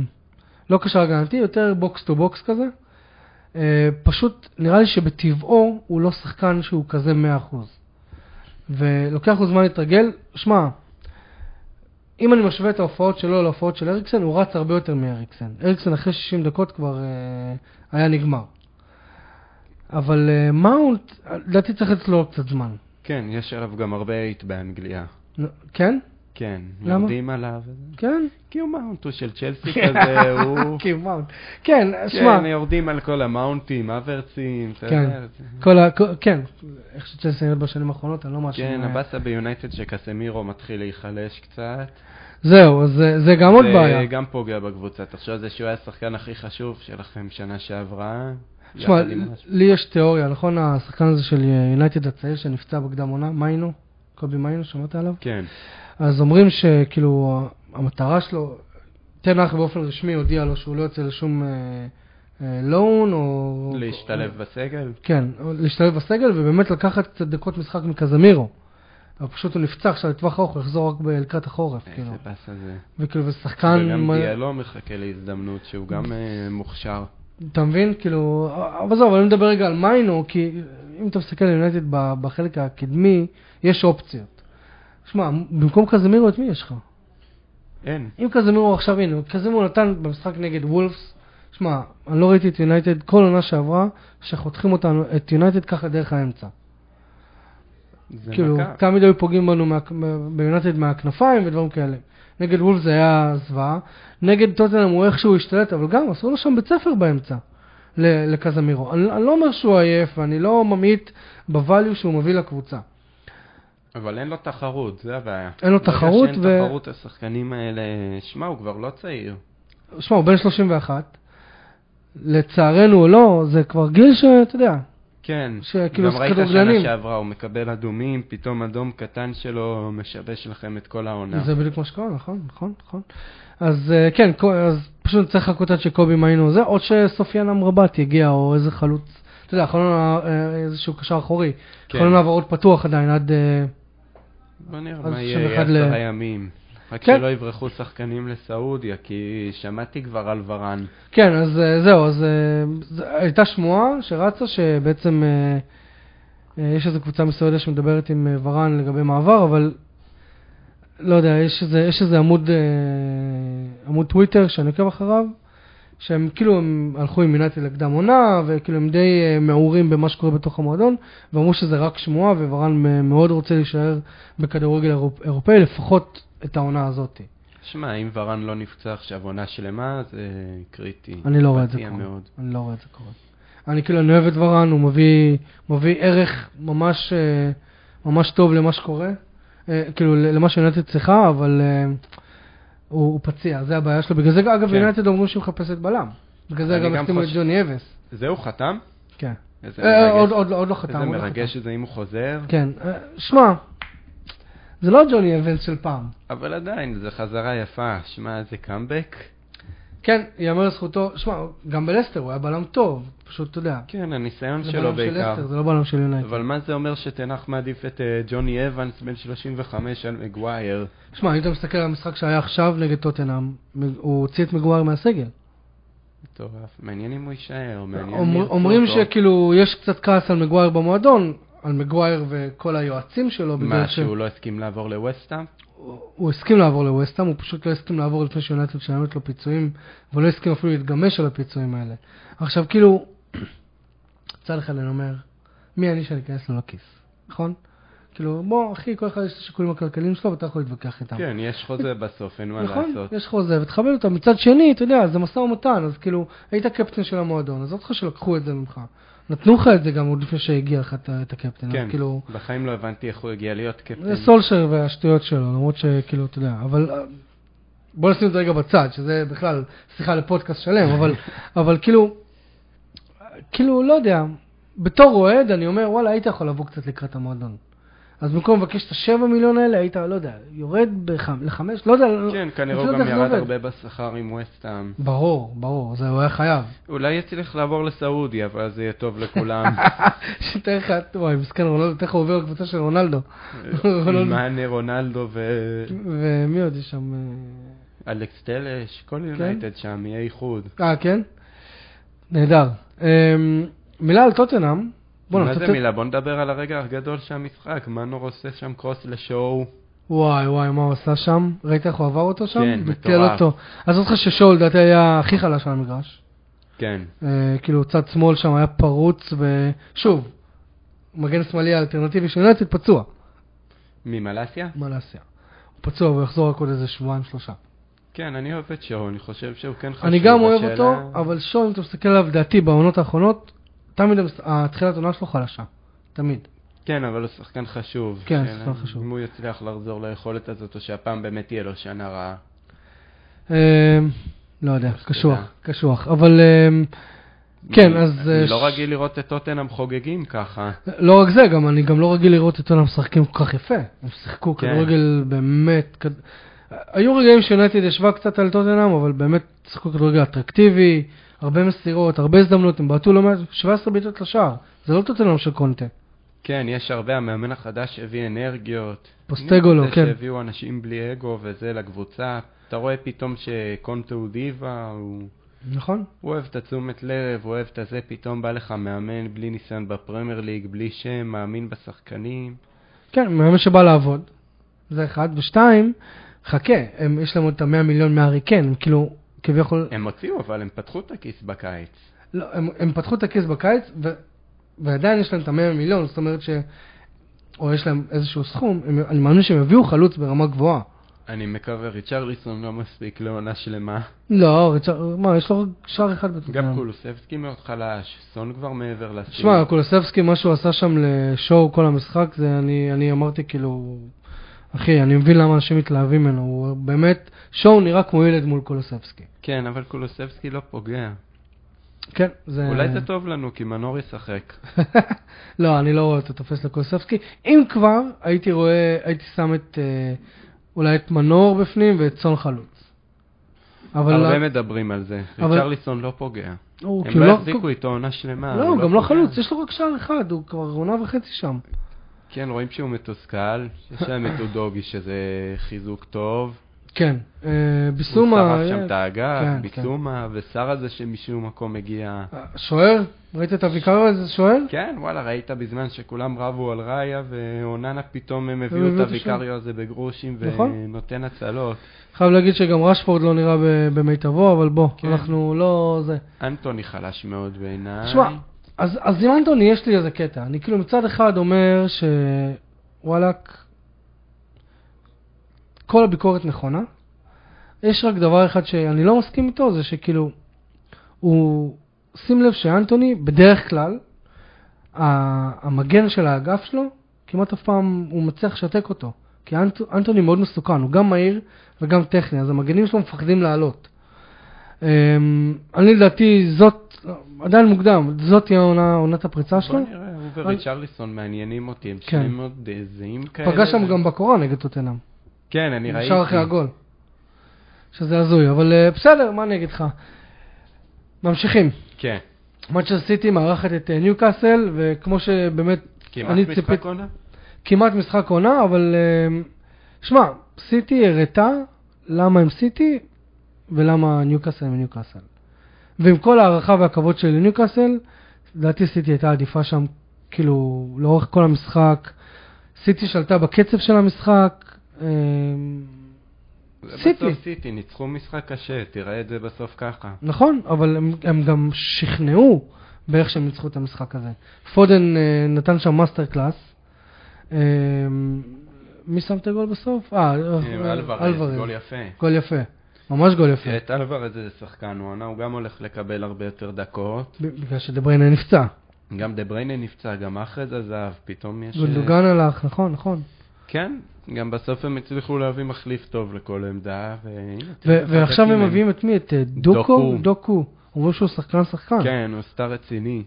Speaker 1: לא קשר הגנתי, יותר בוקס טו בוקס כזה. אה, פשוט נראה לי שבטבעו הוא לא שחקן שהוא כזה 100%. ולוקח לו זמן להתרגל. שמע, אם אני משווה את ההופעות שלו להופעות של אריקסן, הוא רץ הרבה יותר מאריקסן. אריקסן אחרי 60 דקות כבר אה, היה נגמר. אבל אה, מאונט, לדעתי צריך אצלו קצת זמן.
Speaker 2: כן, יש עליו גם הרבה אייט באנגליה.
Speaker 1: נו, כן?
Speaker 2: כן,
Speaker 1: למה?
Speaker 2: יורדים עליו.
Speaker 1: כן?
Speaker 2: כי הוא מאונט, הוא של צ'לסי כזה, הוא...
Speaker 1: כי מאונט. כן, שמע,
Speaker 2: אוקיי, כן, יורדים על כל המאונטים, אברצים, אתה
Speaker 1: כן.
Speaker 2: יודע. זה-
Speaker 1: כל ה... כל- כן, איך שצ'לסי נראית בשנים האחרונות, אני לא מאשים.
Speaker 2: כן,
Speaker 1: אה,
Speaker 2: הבאסה ביונייטד שקסמירו מתחיל להיחלש קצת.
Speaker 1: זהו, אז זה- זה גם עוד בעיה.
Speaker 2: זה גם פוגע בקבוצה. תחשוב על זה שהוא היה השחקן הכי חשוב שלכם שנה שעברה.
Speaker 1: תשמע,
Speaker 2: יחד עם משהו.
Speaker 1: לי יש תיאוריה, נכון? השחקן הזה של יונייטד הצעיר שנפצע בקדם עונה, מיינו, קובי מיינו, שמעת עליו?
Speaker 2: כן.
Speaker 1: אז אומרים שכאילו המטרה שלו, תנח באופן רשמי הודיע לו שהוא לא יוצא לשום אה, אה, לון או...
Speaker 2: להשתלב בסגל?
Speaker 1: כן, או להשתלב בסגל ובאמת לקחת קצת דקות משחק מקזמירו. אבל פשוט הוא נפצע עכשיו לטווח ארוך, הוא יחזור רק ב- לקראת החורף, כאילו.
Speaker 2: איזה באסה זה.
Speaker 1: וכאילו, ושחקן...
Speaker 2: אה,
Speaker 1: אה,
Speaker 2: וגם
Speaker 1: מה-
Speaker 2: דיאלו מחכה להזדמנות שהוא גם אה, מוכשר.
Speaker 1: אתה מבין? כאילו, אבל זהו, אבל אני מדבר רגע על מיינו, כי אם אתה מסתכל על יונייטד ב- בחלק הקדמי, יש אופציות. שמע, במקום קזמירו את מי יש לך?
Speaker 2: אין.
Speaker 1: אם קזמירו עכשיו, הנה, קזמירו נתן במשחק נגד וולפס, שמע, אני לא ראיתי את יונייטד כל עונה שעברה, שחותכים אותנו, את יונייטד ככה דרך האמצע.
Speaker 2: זה
Speaker 1: כאילו,
Speaker 2: מכה.
Speaker 1: תמיד היו פוגעים בנו מה- ביונייטד מהכנפיים ודברים כאלה. נגד וולף זה היה זוועה, נגד טוטנאם הוא איכשהו השתלט, אבל גם עשו לו שם בית ספר באמצע, ל- לקזמירו. אני, אני לא אומר שהוא עייף, ואני לא ממעיט בvalue שהוא מביא לקבוצה.
Speaker 2: אבל אין לו תחרות, זה הבעיה.
Speaker 1: אין לו
Speaker 2: ברגע
Speaker 1: תחרות
Speaker 2: שאין
Speaker 1: ו-
Speaker 2: תחרות השחקנים האלה... שמע, הוא כבר לא צעיר.
Speaker 1: שמע, הוא בן 31, לצערנו או לא, זה כבר גיל שאתה יודע,
Speaker 2: כן.
Speaker 1: שכאילו
Speaker 2: גם ראית
Speaker 1: כדורגלנים.
Speaker 2: שנה שעברה, הוא מקבל אדומים, פתאום אדום קטן שלו משבש לכם את כל העונה.
Speaker 1: זה בדיוק מה שקורה, נכון, נכון, נכון. אז אה, כן, קו- אז פשוט צריך לחכות עד שקובי מיינו זה, או שסופיאן אמרבת יגיע, או איזה חלוץ, אתה יודע, חלון אה, איזשהו קשר אחורי.
Speaker 2: כן.
Speaker 1: חלון העברות פתוח עדיין, עד... אה,
Speaker 2: בוא נראה
Speaker 1: אז
Speaker 2: מה יהיה, יהיה
Speaker 1: 31 ל-
Speaker 2: עשרה ימים. רק
Speaker 1: כן.
Speaker 2: שלא יברחו שחקנים לסעודיה, כי שמעתי כבר על ורן.
Speaker 1: כן, אז אה, זהו, אז אה, זה- הייתה שמועה שרצה, שבעצם אה, אה, יש איזו קבוצה מסוימת שמדברת עם אה, ורן לגבי מעבר, אבל לא יודע, יש איזה, יש איזה עמוד, אה, עמוד טוויטר שאני עוקב אחריו, שהם כאילו הם הלכו עם יונייטד לקדם עונה, וכאילו הם די אה, מעורים במה שקורה בתוך המועדון, ואמרו שזה רק שמועה, וורן אה, מאוד רוצה להישאר בכדורגל אירופ- אירופאי, לפחות את העונה הזאת.
Speaker 2: שמע, אם ורן לא נפצע עכשיו עונה שלמה, זה קריטי.
Speaker 1: אני לא רואה את זה
Speaker 2: מפתיע
Speaker 1: קורה.
Speaker 2: מאוד.
Speaker 1: אני לא רואה את זה קורה. אני כאילו, אני אוהב את ורן, הוא מביא, מביא ערך ממש, אה, ממש טוב למה שקורה, אה, כאילו למה שיונתן צריכה, אבל אה, הוא, הוא פציע, זה הבעיה שלו. בגלל זה, אגב,
Speaker 2: כן.
Speaker 1: כן. יונתן אומרים שהיא מחפשת בלם. בגלל זה,
Speaker 2: אני
Speaker 1: אגב,
Speaker 2: גם
Speaker 1: החתימו את
Speaker 2: חושב-
Speaker 1: ג'וני אבס.
Speaker 2: זהו, חתם?
Speaker 1: כן.
Speaker 2: איזה
Speaker 1: אה,
Speaker 2: מרגש.
Speaker 1: עוד, עוד, עוד לא חתם.
Speaker 2: איזה
Speaker 1: עוד לא
Speaker 2: מרגש
Speaker 1: חתם.
Speaker 2: שזה אם הוא חוזר,
Speaker 1: כן. אה, שמע, זה לא ג'וני אבס של פעם.
Speaker 2: אבל עדיין, זו חזרה יפה. שמע, זה קאמבק.
Speaker 1: כן, ייאמר לזכותו, שמע, גם בלסטר הוא היה בלם טוב, פשוט, אתה יודע.
Speaker 2: כן, הניסיון
Speaker 1: זה
Speaker 2: שלו
Speaker 1: בלם של
Speaker 2: בעיקר.
Speaker 1: לסטר, זה לא בלם של יונייטד.
Speaker 2: אבל מה זה אומר שתנח מעדיף את אה, ג'וני אבנס, בן 35, על מגווייר?
Speaker 1: שמע, אם אתה מסתכל על המשחק שהיה עכשיו נגד טוטנאם, מ- הוא הוציא את מגווייר מהסגל.
Speaker 2: מטורף. מעניין אם הוא יישאר, מעניין אם
Speaker 1: אומר-
Speaker 2: ירצו
Speaker 1: אומרים
Speaker 2: אותו.
Speaker 1: שכאילו יש קצת כעס על מגווייר במועדון, על מגווייר וכל היועצים שלו, בגלל
Speaker 2: מה, שהוא לא הסכים לעבור לווסטאם?
Speaker 1: שהוא הסכים לעבור לווסטהאם, הוא פשוט לא הסכים לעבור לפני שיונייטד שלמת לו פיצויים, ולא הסכים אפילו להתגמש על הפיצויים האלה. עכשיו כאילו, צד אחד אני אומר, מי אני שאני אכנס לו לכיס, נכון? כאילו, בוא, אחי, כל אחד יש את השיקולים הכלכליים שלו ואתה יכול להתווכח איתם.
Speaker 2: כן, יש חוזה בסוף, אין מה
Speaker 1: נכון,
Speaker 2: לעשות.
Speaker 1: יש חוזה, ותכבד אותה. מצד שני, אתה יודע, זה משא ומתן, אז כאילו, היית קפטן של המועדון, עזוב אותך שלקחו את זה ממך. נתנו לך את זה גם עוד לפני שהגיע לך את- את הקפטן, אז
Speaker 2: כן,
Speaker 1: כאילו,
Speaker 2: בחיים לא הבנתי איך הוא הגיע להיות
Speaker 1: זה
Speaker 2: קפטן.
Speaker 1: סולשר והשטויות שלו, למרות שכאילו, אתה יודע, אבל אה, בוא נשים את זה רגע בצד, שזה בכלל שיחה לפודקאסט שלם, אבל, אבל כאילו, כאילו, לא יודע, בתור אוהד אני אומר, וואלה, היית יכול לבוא קצת לקראת המועדון. אז במקום לבקש את השבע מיליון האלה, היית, לא יודע, יורד בח- לחמש, לא יודע, לא-
Speaker 2: כן, כנראה
Speaker 1: אני
Speaker 2: הוא
Speaker 1: לא יודע
Speaker 2: גם
Speaker 1: איך זה
Speaker 2: ירד
Speaker 1: עובד.
Speaker 2: הרבה בשכר עם ווסטהאם.
Speaker 1: ברור, ברור, זה הוא היה חייב.
Speaker 2: אולי יצליח לעבור לסעודיה, אבל זה יהיה טוב לכולם.
Speaker 1: שתאר לך, וואי, מסכן רונלדו, תכף הוא עובר לקבוצה של רונלדו. רונלדו.
Speaker 2: מאנה, רונלדו
Speaker 1: כן. ומי עוד יש שם? אה,
Speaker 2: ואלכס טלש, כל
Speaker 1: כן.
Speaker 2: יונייטד שם, יהיה איחוד.
Speaker 1: אה, כן? נהדר. אמ, מילה על טוטנאם. בוא'נה,
Speaker 2: מה זה
Speaker 1: טוטנ-
Speaker 2: מילה? בוא נדבר על הרגע הגדול של המשחק. מנור עושה שם קרוס לשואו.
Speaker 1: וואי, וואי, מה הוא עשה שם? ראית איך הוא עבר אותו שם?
Speaker 2: כן,
Speaker 1: ביטל
Speaker 2: מטורף.
Speaker 1: אותו. אז אותך ששול, לדעתי, היה הכי חלש על המגרש.
Speaker 2: כן.
Speaker 1: אה, כאילו, צד שמאל שם היה פרוץ, ושוב, מגן שמאלי האלטרנטיבי של יונצית פצוע.
Speaker 2: ממלאסיה?
Speaker 1: מה לעשות? הוא פצוע, והוא יחזור רק עוד איזה שבועיים, שלושה.
Speaker 2: כן, אני אוהב את שואו, אני חושב שהוא כן חשוב.
Speaker 1: אני גם אוהב
Speaker 2: השאלה-
Speaker 1: אותו, אבל שון, אם אתה מסתכל עליו, דעתי, בעונות האחרונות, תמיד המס- התחילת עונה שלו חלשה. תמיד.
Speaker 2: כן, אבל הוא שחקן חשוב.
Speaker 1: כן,
Speaker 2: שאלה
Speaker 1: שחקן חשוב.
Speaker 2: אם הוא יצליח לחזור ליכולת הזאת, או שהפעם באמת תהיה לו שנה רעה.
Speaker 1: אה, אמ, לא יודע, קשוח, קשוח. אבל אמ, כן,
Speaker 2: אני-
Speaker 1: אז,
Speaker 2: אני
Speaker 1: אה,
Speaker 2: לא
Speaker 1: ש-
Speaker 2: רגיל לראות את טוטנאם חוגגים ככה.
Speaker 1: לא רק זה, גם אני גם לא רגיל לראות את אולם משחקים כל כך יפה. הם שיחקו
Speaker 2: כן.
Speaker 1: כדורגל באמת... כד- היו רגעים שיונייטד ישבה קצת על טוטנאם, אבל באמת שיחקו כדורגל אטרקטיבי, הרבה מסירות, הרבה הזדמנות, הם בעטו לא מעט, 17 בעיטות לשער. זה לא טוטנאם של קונטה.
Speaker 2: כן, יש הרבה, המאמן החדש הביא אנרגיות.
Speaker 1: פוסטגולו,
Speaker 2: זה
Speaker 1: כן.
Speaker 2: שהביאו אנשים בלי אגו וזה לקבוצה. אתה רואה פתאום שקונטו הוא דיבה, הוא...
Speaker 1: נכון?
Speaker 2: הוא אוהב את התשומת לב, הוא אוהב את הזה, פתאום בא לך מאמן בלי ניסיון בפרמייר ליג, בלי שם, מאמין בשחקנים.
Speaker 1: כן, מאמן שבא לעבוד. זה אחד. ושתיים, חכה, הם, יש להם עוד את המאה מיליון מהארי קיין, הם כאילו, כביכול,
Speaker 2: הם הוציאו, אבל הם פתחו את הכיס בקיץ.
Speaker 1: לא, הם, הם פתחו את הכיס בקיץ, ו, ועדיין יש להם את המאה מיליון, זאת אומרת ש... או יש להם איזשהו סכום, הם, אני מאמין שהם יביאו חלוץ ברמה גבוהה.
Speaker 2: אני מקווה, ריצ'רליסון לא מספיק לעונה שלמה.
Speaker 1: לא, ריצ'ר, מה, יש לו שער אחד בטוטנאם.
Speaker 2: גם קולוסבסקי מאוד חלש, סון כבר מעבר לסוף.
Speaker 1: כן. שמע, קולוסבסקי, מה שהוא עשה שם לשואו כל המשחק, זה אני, אני אמרתי כאילו, אחי, אני מבין למה אנשים מתלהבים ממנו, הוא באמת, שואו נראה כמו ילד מול קולוסבסקי.
Speaker 2: כן, אבל קולוסבסקי לא פוגע.
Speaker 1: כן, זה...
Speaker 2: אולי זה טוב לנו, כי מנור ישחק.
Speaker 1: לא, אני לא רואה אותו תופס לקוספסקי. אם כבר, הייתי רואה, הייתי שם את, אה, אולי את מנור בפנים ואת צאן חלוץ. אבל
Speaker 2: הרבה
Speaker 1: לא-
Speaker 2: מדברים על זה.
Speaker 1: אבל-
Speaker 2: ריצ'רליסון לא פוגע.
Speaker 1: הוא
Speaker 2: הם
Speaker 1: כאילו
Speaker 2: לא
Speaker 1: לא...
Speaker 2: החזיקו איתו עונה שלמה.
Speaker 1: לא,
Speaker 2: הוא
Speaker 1: הוא גם לא
Speaker 2: פוגע.
Speaker 1: חלוץ, יש לו רק שער אחד, הוא כבר עונה וחצי שם.
Speaker 2: כן, רואים שהוא מתוסכל. יש להם את אודוגי, שזה חיזוק טוב.
Speaker 1: כן, אה,
Speaker 2: ביסומה.
Speaker 1: ביסומה...
Speaker 2: הוא שרף שם את האגף,
Speaker 1: כן,
Speaker 2: ביסומה, ושר הזה שמשום מקום הגיע.
Speaker 1: אה, שוער? ראית את אביקרו איזה שוער?
Speaker 2: כן, וואלה, ראית בזמן שכולם רבו על ראיה, ואוננה פתאום הם
Speaker 1: הם
Speaker 2: הביאו את
Speaker 1: הביאו אותו
Speaker 2: הוויקריו הזה בגרושים,
Speaker 1: נכון.
Speaker 2: ונותן הצלות.
Speaker 1: חייב להגיד שגם רשפורד לא נראה ב- במיטבו, אבל בוא,
Speaker 2: כן.
Speaker 1: אנחנו לא... זה.
Speaker 2: אנטוני חלש מאוד בעיניי.
Speaker 1: שמע, אז, אז עם אנטוני יש לי איזה קטע. אני כאילו מצד אחד אומר שוואלאק, כל הביקורת נכונה. יש רק דבר אחד שאני לא מסכים איתו, זה שכאילו, הוא, שים לב שאנטוני, בדרך כלל, ה- המגן של האגף שלו, כמעט אף פעם הוא מצליח לשתק אותו. כי אנט, אנטוני מאוד מסוכן, הוא גם מהיר וגם טכני, אז המגנים שלו מפחדים לעלות. אמ, אני לדעתי זאת, עדיין מוקדם, זאת תהיה העונה- עונת הפריצה שלו.
Speaker 2: בוא נראה, הוא וריצ'רליסון מעניינים אותי, הם שניהם מאוד אה, זהים כאלה.
Speaker 1: כן. פגש שם גם בקורה נגד טוטנאם.
Speaker 2: כן, אני ראיתי.
Speaker 1: שער אחרי הגול. שזה הזוי, אבל אה, בסדר, מה אני אגיד לך? ממשיכים.
Speaker 2: כן.
Speaker 1: מצ'ר סיטי מארחת את אה, ניוקאסל, וכמו שבאמת,
Speaker 2: כמעט
Speaker 1: אני
Speaker 2: משחק
Speaker 1: ציפיתי-
Speaker 2: עונה?
Speaker 1: כמעט משחק עונה, אבל אה, שמע, סיטי הראתה למה הם סיטי ולמה ניוקאסל הם ניוקאסל. ועם כל ההערכה והכבוד שלי לניוקאסל, לדעתי סיטי הייתה עדיפה שם, כאילו, לאורך כל המשחק. סיטי שלטה בקצב של המשחק. אה,
Speaker 2: סיטי.
Speaker 1: סיטי.
Speaker 2: בסוף סיטי, ניצחו משחק קשה, תראה את זה בסוף ככה.
Speaker 1: נכון, אבל הם, הם גם שכנעו באיך שהם ניצחו את המשחק הזה. פודן אה, נתן שם מאסטר קלאס. אה, מי שם את הגול בסוף? אה, אה,
Speaker 2: אלוורז, גול יפה. אה,
Speaker 1: גול יפה. ממש גול יפה.
Speaker 2: את אלוורז איזה שחקן הוא עונה, הוא גם הולך לקבל הרבה יותר דקות.
Speaker 1: ב- בגלל שדבריינה נפצע.
Speaker 2: גם דה בריינה נפצע, גם אחרז עזב, פתאום יש... אה,
Speaker 1: גונדוגן הלך, נכון, נכון.
Speaker 2: כן, גם בסוף הם הצליחו להביא מחליף טוב לכל עמדה, והנה.
Speaker 1: ו-
Speaker 2: תשחק
Speaker 1: ועכשיו
Speaker 2: עם
Speaker 1: הם מביאים את מי? את אה, דוקו?
Speaker 2: דוקו.
Speaker 1: דוקו. אומרים שהוא שחקן שחקן.
Speaker 2: כן, הוא סטאר רציני.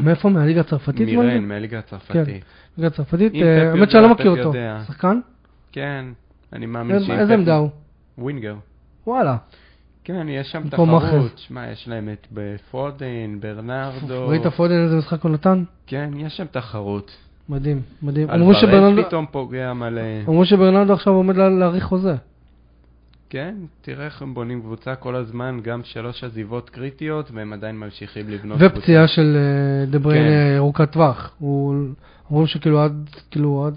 Speaker 1: מאיפה? מהליגה הצרפתית?
Speaker 2: מירן,
Speaker 1: נראה לי?
Speaker 2: מהליגה הצרפתית.
Speaker 1: מהליגה הצרפתית?
Speaker 2: אם
Speaker 1: אה,
Speaker 2: פפ
Speaker 1: האמת
Speaker 2: יודע,
Speaker 1: שאני לא
Speaker 2: פפ
Speaker 1: מכיר אותו.
Speaker 2: יודע.
Speaker 1: שחקן?
Speaker 2: כן, אני מאמין
Speaker 1: איזה
Speaker 2: שאם...
Speaker 1: איזה
Speaker 2: פפ-
Speaker 1: עמדה הוא?
Speaker 2: ווינגר.
Speaker 1: וואלה.
Speaker 2: כן, יש שם
Speaker 1: במקום
Speaker 2: תחרות.
Speaker 1: אחר.
Speaker 2: שמע, יש להם את פודן, ברנרדו.
Speaker 1: ראית פודן איזה משחק הוא נתן?
Speaker 2: כן, יש שם תחרות.
Speaker 1: מדהים, מדהים. אמרו
Speaker 2: אלברז
Speaker 1: שברננדו-
Speaker 2: פתאום פוגע מלא.
Speaker 1: אמרו שברננדו עכשיו עומד לה- להאריך חוזה.
Speaker 2: כן, תראה איך הם בונים קבוצה כל הזמן, גם שלוש עזיבות קריטיות, והם עדיין ממשיכים לבנות קבוצה.
Speaker 1: ופציעה של אה, דה
Speaker 2: לא, כן.
Speaker 1: בריינה ארוכת טווח. הוא- אומרים שכאילו עד, כאילו עד,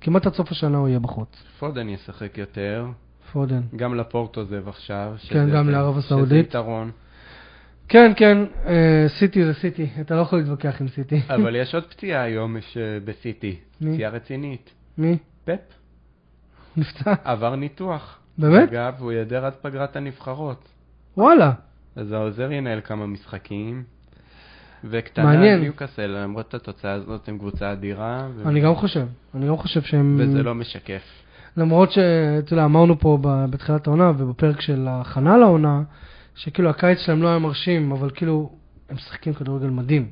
Speaker 1: כמעט עד סוף השנה הוא יהיה בחוץ.
Speaker 2: פודן ישחק יותר,
Speaker 1: פודן.
Speaker 2: גם לפורט עוזב עכשיו. שזה-
Speaker 1: כן, גם
Speaker 2: זה-
Speaker 1: לערב
Speaker 2: שזה
Speaker 1: הסעודית.
Speaker 2: יתרון.
Speaker 1: כן, כן, אה, סיטי זה סיטי. אתה לא יכול להתווכח עם סיטי.
Speaker 2: אבל יש עוד פציעה היום יש, אה, בסיטי,
Speaker 1: מי?
Speaker 2: פציעה רצינית.
Speaker 1: מי?
Speaker 2: פפ
Speaker 1: נפצע?
Speaker 2: עבר ניתוח.
Speaker 1: באמת?
Speaker 2: אגב, הוא יעדר עד פגרת הנבחרות.
Speaker 1: וואלה.
Speaker 2: אז העוזר ינהל כמה משחקים. וקטנה
Speaker 1: מעניין.
Speaker 2: ניוקאסל, למרות התוצאה הזאת, הם קבוצה אדירה, ו-
Speaker 1: אני גם חושב. אני גם חושב שהם...
Speaker 2: וזה לא משקף.
Speaker 1: למרות שאתה יודע, אמרנו פה ב- בתחילת העונה ובפרק של ההכנה לעונה, שכאילו הקיץ שלהם לא היה מרשים, אבל כאילו הם משחקים כדורגל מדהים.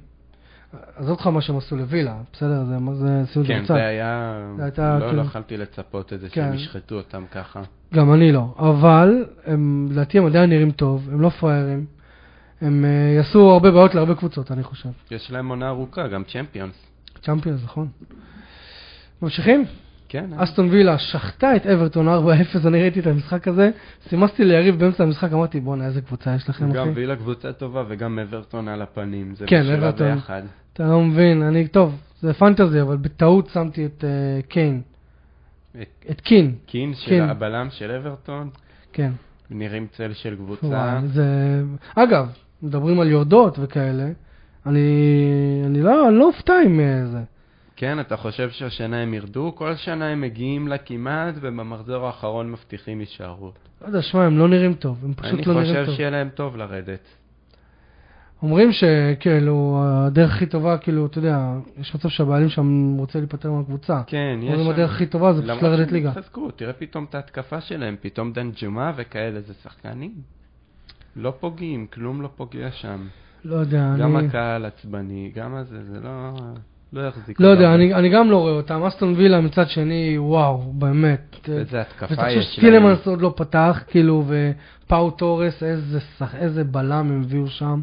Speaker 1: עזוב אותך מה שהם עשו לווילה, בסדר? זה מה זה סיום
Speaker 2: כן,
Speaker 1: בצד.
Speaker 2: זה היה...
Speaker 1: זה הייתה,
Speaker 2: לא,
Speaker 1: כן.
Speaker 2: לא יכלתי לצפות את זה
Speaker 1: כן.
Speaker 2: שהם ישחטו אותם ככה.
Speaker 1: גם אני לא. אבל, הם, לדעתי הם עדיין נראים טוב, הם לא פראיירים. הם אה, יעשו הרבה בעיות להרבה קבוצות, אני חושב.
Speaker 2: יש להם עונה ארוכה, גם צ'מפיונס.
Speaker 1: צ'מפיונס, נכון. ממשיכים?
Speaker 2: כן, אה.
Speaker 1: אסטון וילה שחטה את אברטון 4-0, אני ראיתי את המשחק הזה. סימסתי ליריב באמצע המשחק, אמרתי, בואנה, איזה קבוצה יש לכם,
Speaker 2: גם
Speaker 1: אחי.
Speaker 2: וילה קבוצה טובה וגם אברטון על הפנים. זה
Speaker 1: כן,
Speaker 2: משולב
Speaker 1: אברטון.
Speaker 2: ביחד.
Speaker 1: אתה לא מבין, אני, טוב, זה פנטזי, אבל בטעות שמתי את אה, קיין.
Speaker 2: את
Speaker 1: את קין,
Speaker 2: קין של
Speaker 1: כן.
Speaker 2: הבלם של אברטון,
Speaker 1: כן.
Speaker 2: נראים צל של קבוצה.
Speaker 1: וואי, זה... אגב, מדברים על יורדות וכאלה, אני, אני לא אני לא אופתע עם אה, זה.
Speaker 2: כן, אתה חושב שהשנה הם ירדו? כל שנה הם מגיעים לה כמעט, ובמחזור האחרון מבטיחים הישארות.
Speaker 1: לא יודע, שמע, הם לא נראים טוב, הם
Speaker 2: אני
Speaker 1: פשוט לא נראים
Speaker 2: חושב
Speaker 1: טוב.
Speaker 2: שיהיה להם טוב לרדת.
Speaker 1: אומרים שכאילו, הדרך הכי טובה, כאילו, אתה יודע, יש מצב שהבעלים שם רוצה להיפטר מהקבוצה.
Speaker 2: כן, יש...
Speaker 1: אומרים
Speaker 2: שם-
Speaker 1: הדרך הכי טובה אה, זה פשוט
Speaker 2: למרות
Speaker 1: לרדת
Speaker 2: שהם
Speaker 1: ליגה.
Speaker 2: התחזקו, תראה פתאום את ההתקפה שלהם, פתאום דנג'ומה וכאלה, זה שחקנים. לא פוגעים, כלום לא פוגע שם.
Speaker 1: לא יודע,
Speaker 2: גם
Speaker 1: אני...
Speaker 2: הקהל עצבני, גם הזה, זה לא... לא יחזיק.
Speaker 1: לא יודע,
Speaker 2: מעמד.
Speaker 1: אני, אני גם לא רואה אותם. אסטון וילה מצד שני, וואו, באמת.
Speaker 2: איזה התקפה
Speaker 1: ותחשוב
Speaker 2: יש להם.
Speaker 1: שטילמנס עוד לא פתח, כאילו, ופאו תורס, איזה, שח... איזה בלם הם הביאו שם.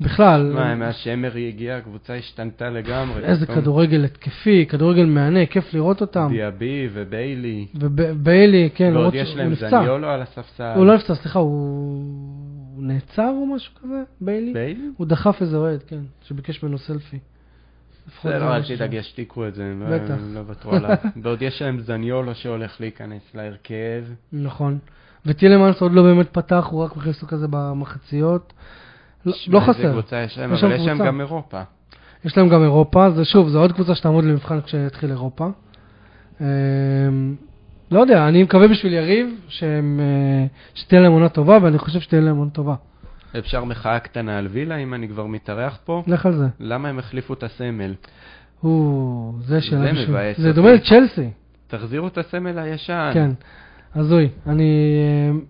Speaker 1: בכלל,
Speaker 2: מה, מאז שאמרי הגיע, הקבוצה השתנתה לגמרי.
Speaker 1: איזה
Speaker 2: פתאום
Speaker 1: כדורגל התקפי, כדורגל מהנה, כיף לראות אותם.
Speaker 2: דיאבי וביילי.
Speaker 1: וביילי, כן,
Speaker 2: ועוד
Speaker 1: למרות
Speaker 2: יש
Speaker 1: שהוא
Speaker 2: להם
Speaker 1: נפצע.
Speaker 2: זניולו על הספסל.
Speaker 1: הוא לא נפצע, סליחה, הוא הוא נעצר או משהו כזה, ביילי?
Speaker 2: ביילי?
Speaker 1: הוא דחף איזה אוהד, כן, שביקש ממנו סלפי. לפחות זה
Speaker 2: בסדר,
Speaker 1: מה
Speaker 2: אל
Speaker 1: ש-
Speaker 2: תדאג, ישתיקו את זה, הם לא-
Speaker 1: בטח.
Speaker 2: הם לא יוותרו עליו. ועוד יש להם זניולו שהולך להיכנס להרכב.
Speaker 1: נכון. וטילמנס עוד לא באמת פתח, הוא רק מכניס אותו כזה במחציות. לא-
Speaker 2: שמע,
Speaker 1: לא
Speaker 2: איזה
Speaker 1: חסר.
Speaker 2: קבוצה יש להם,
Speaker 1: יש
Speaker 2: אבל
Speaker 1: להם
Speaker 2: יש להם
Speaker 1: קבוצה.
Speaker 2: גם אירופה.
Speaker 1: יש להם גם אירופה, זה שוב, זו עוד קבוצה שתעמוד למבחן כשתתחיל אירופה. אמ, לא יודע, אני מקווה בשביל יריב שהם, אה, שתהיה להם עונה טובה, ואני חושב שתהיה להם עונה טובה.
Speaker 2: אפשר מחאה קטנה על וילה, אם אני כבר מתארח פה?
Speaker 1: לך על זה.
Speaker 2: למה הם החליפו את הסמל?
Speaker 1: הוא, זה שאלה
Speaker 2: זה
Speaker 1: בשביל...
Speaker 2: מבאס
Speaker 1: זה
Speaker 2: אותי. אה.
Speaker 1: דומה לצ'לסי,
Speaker 2: תחזירו את הסמל הישן.
Speaker 1: כן. הזוי. אני אמ,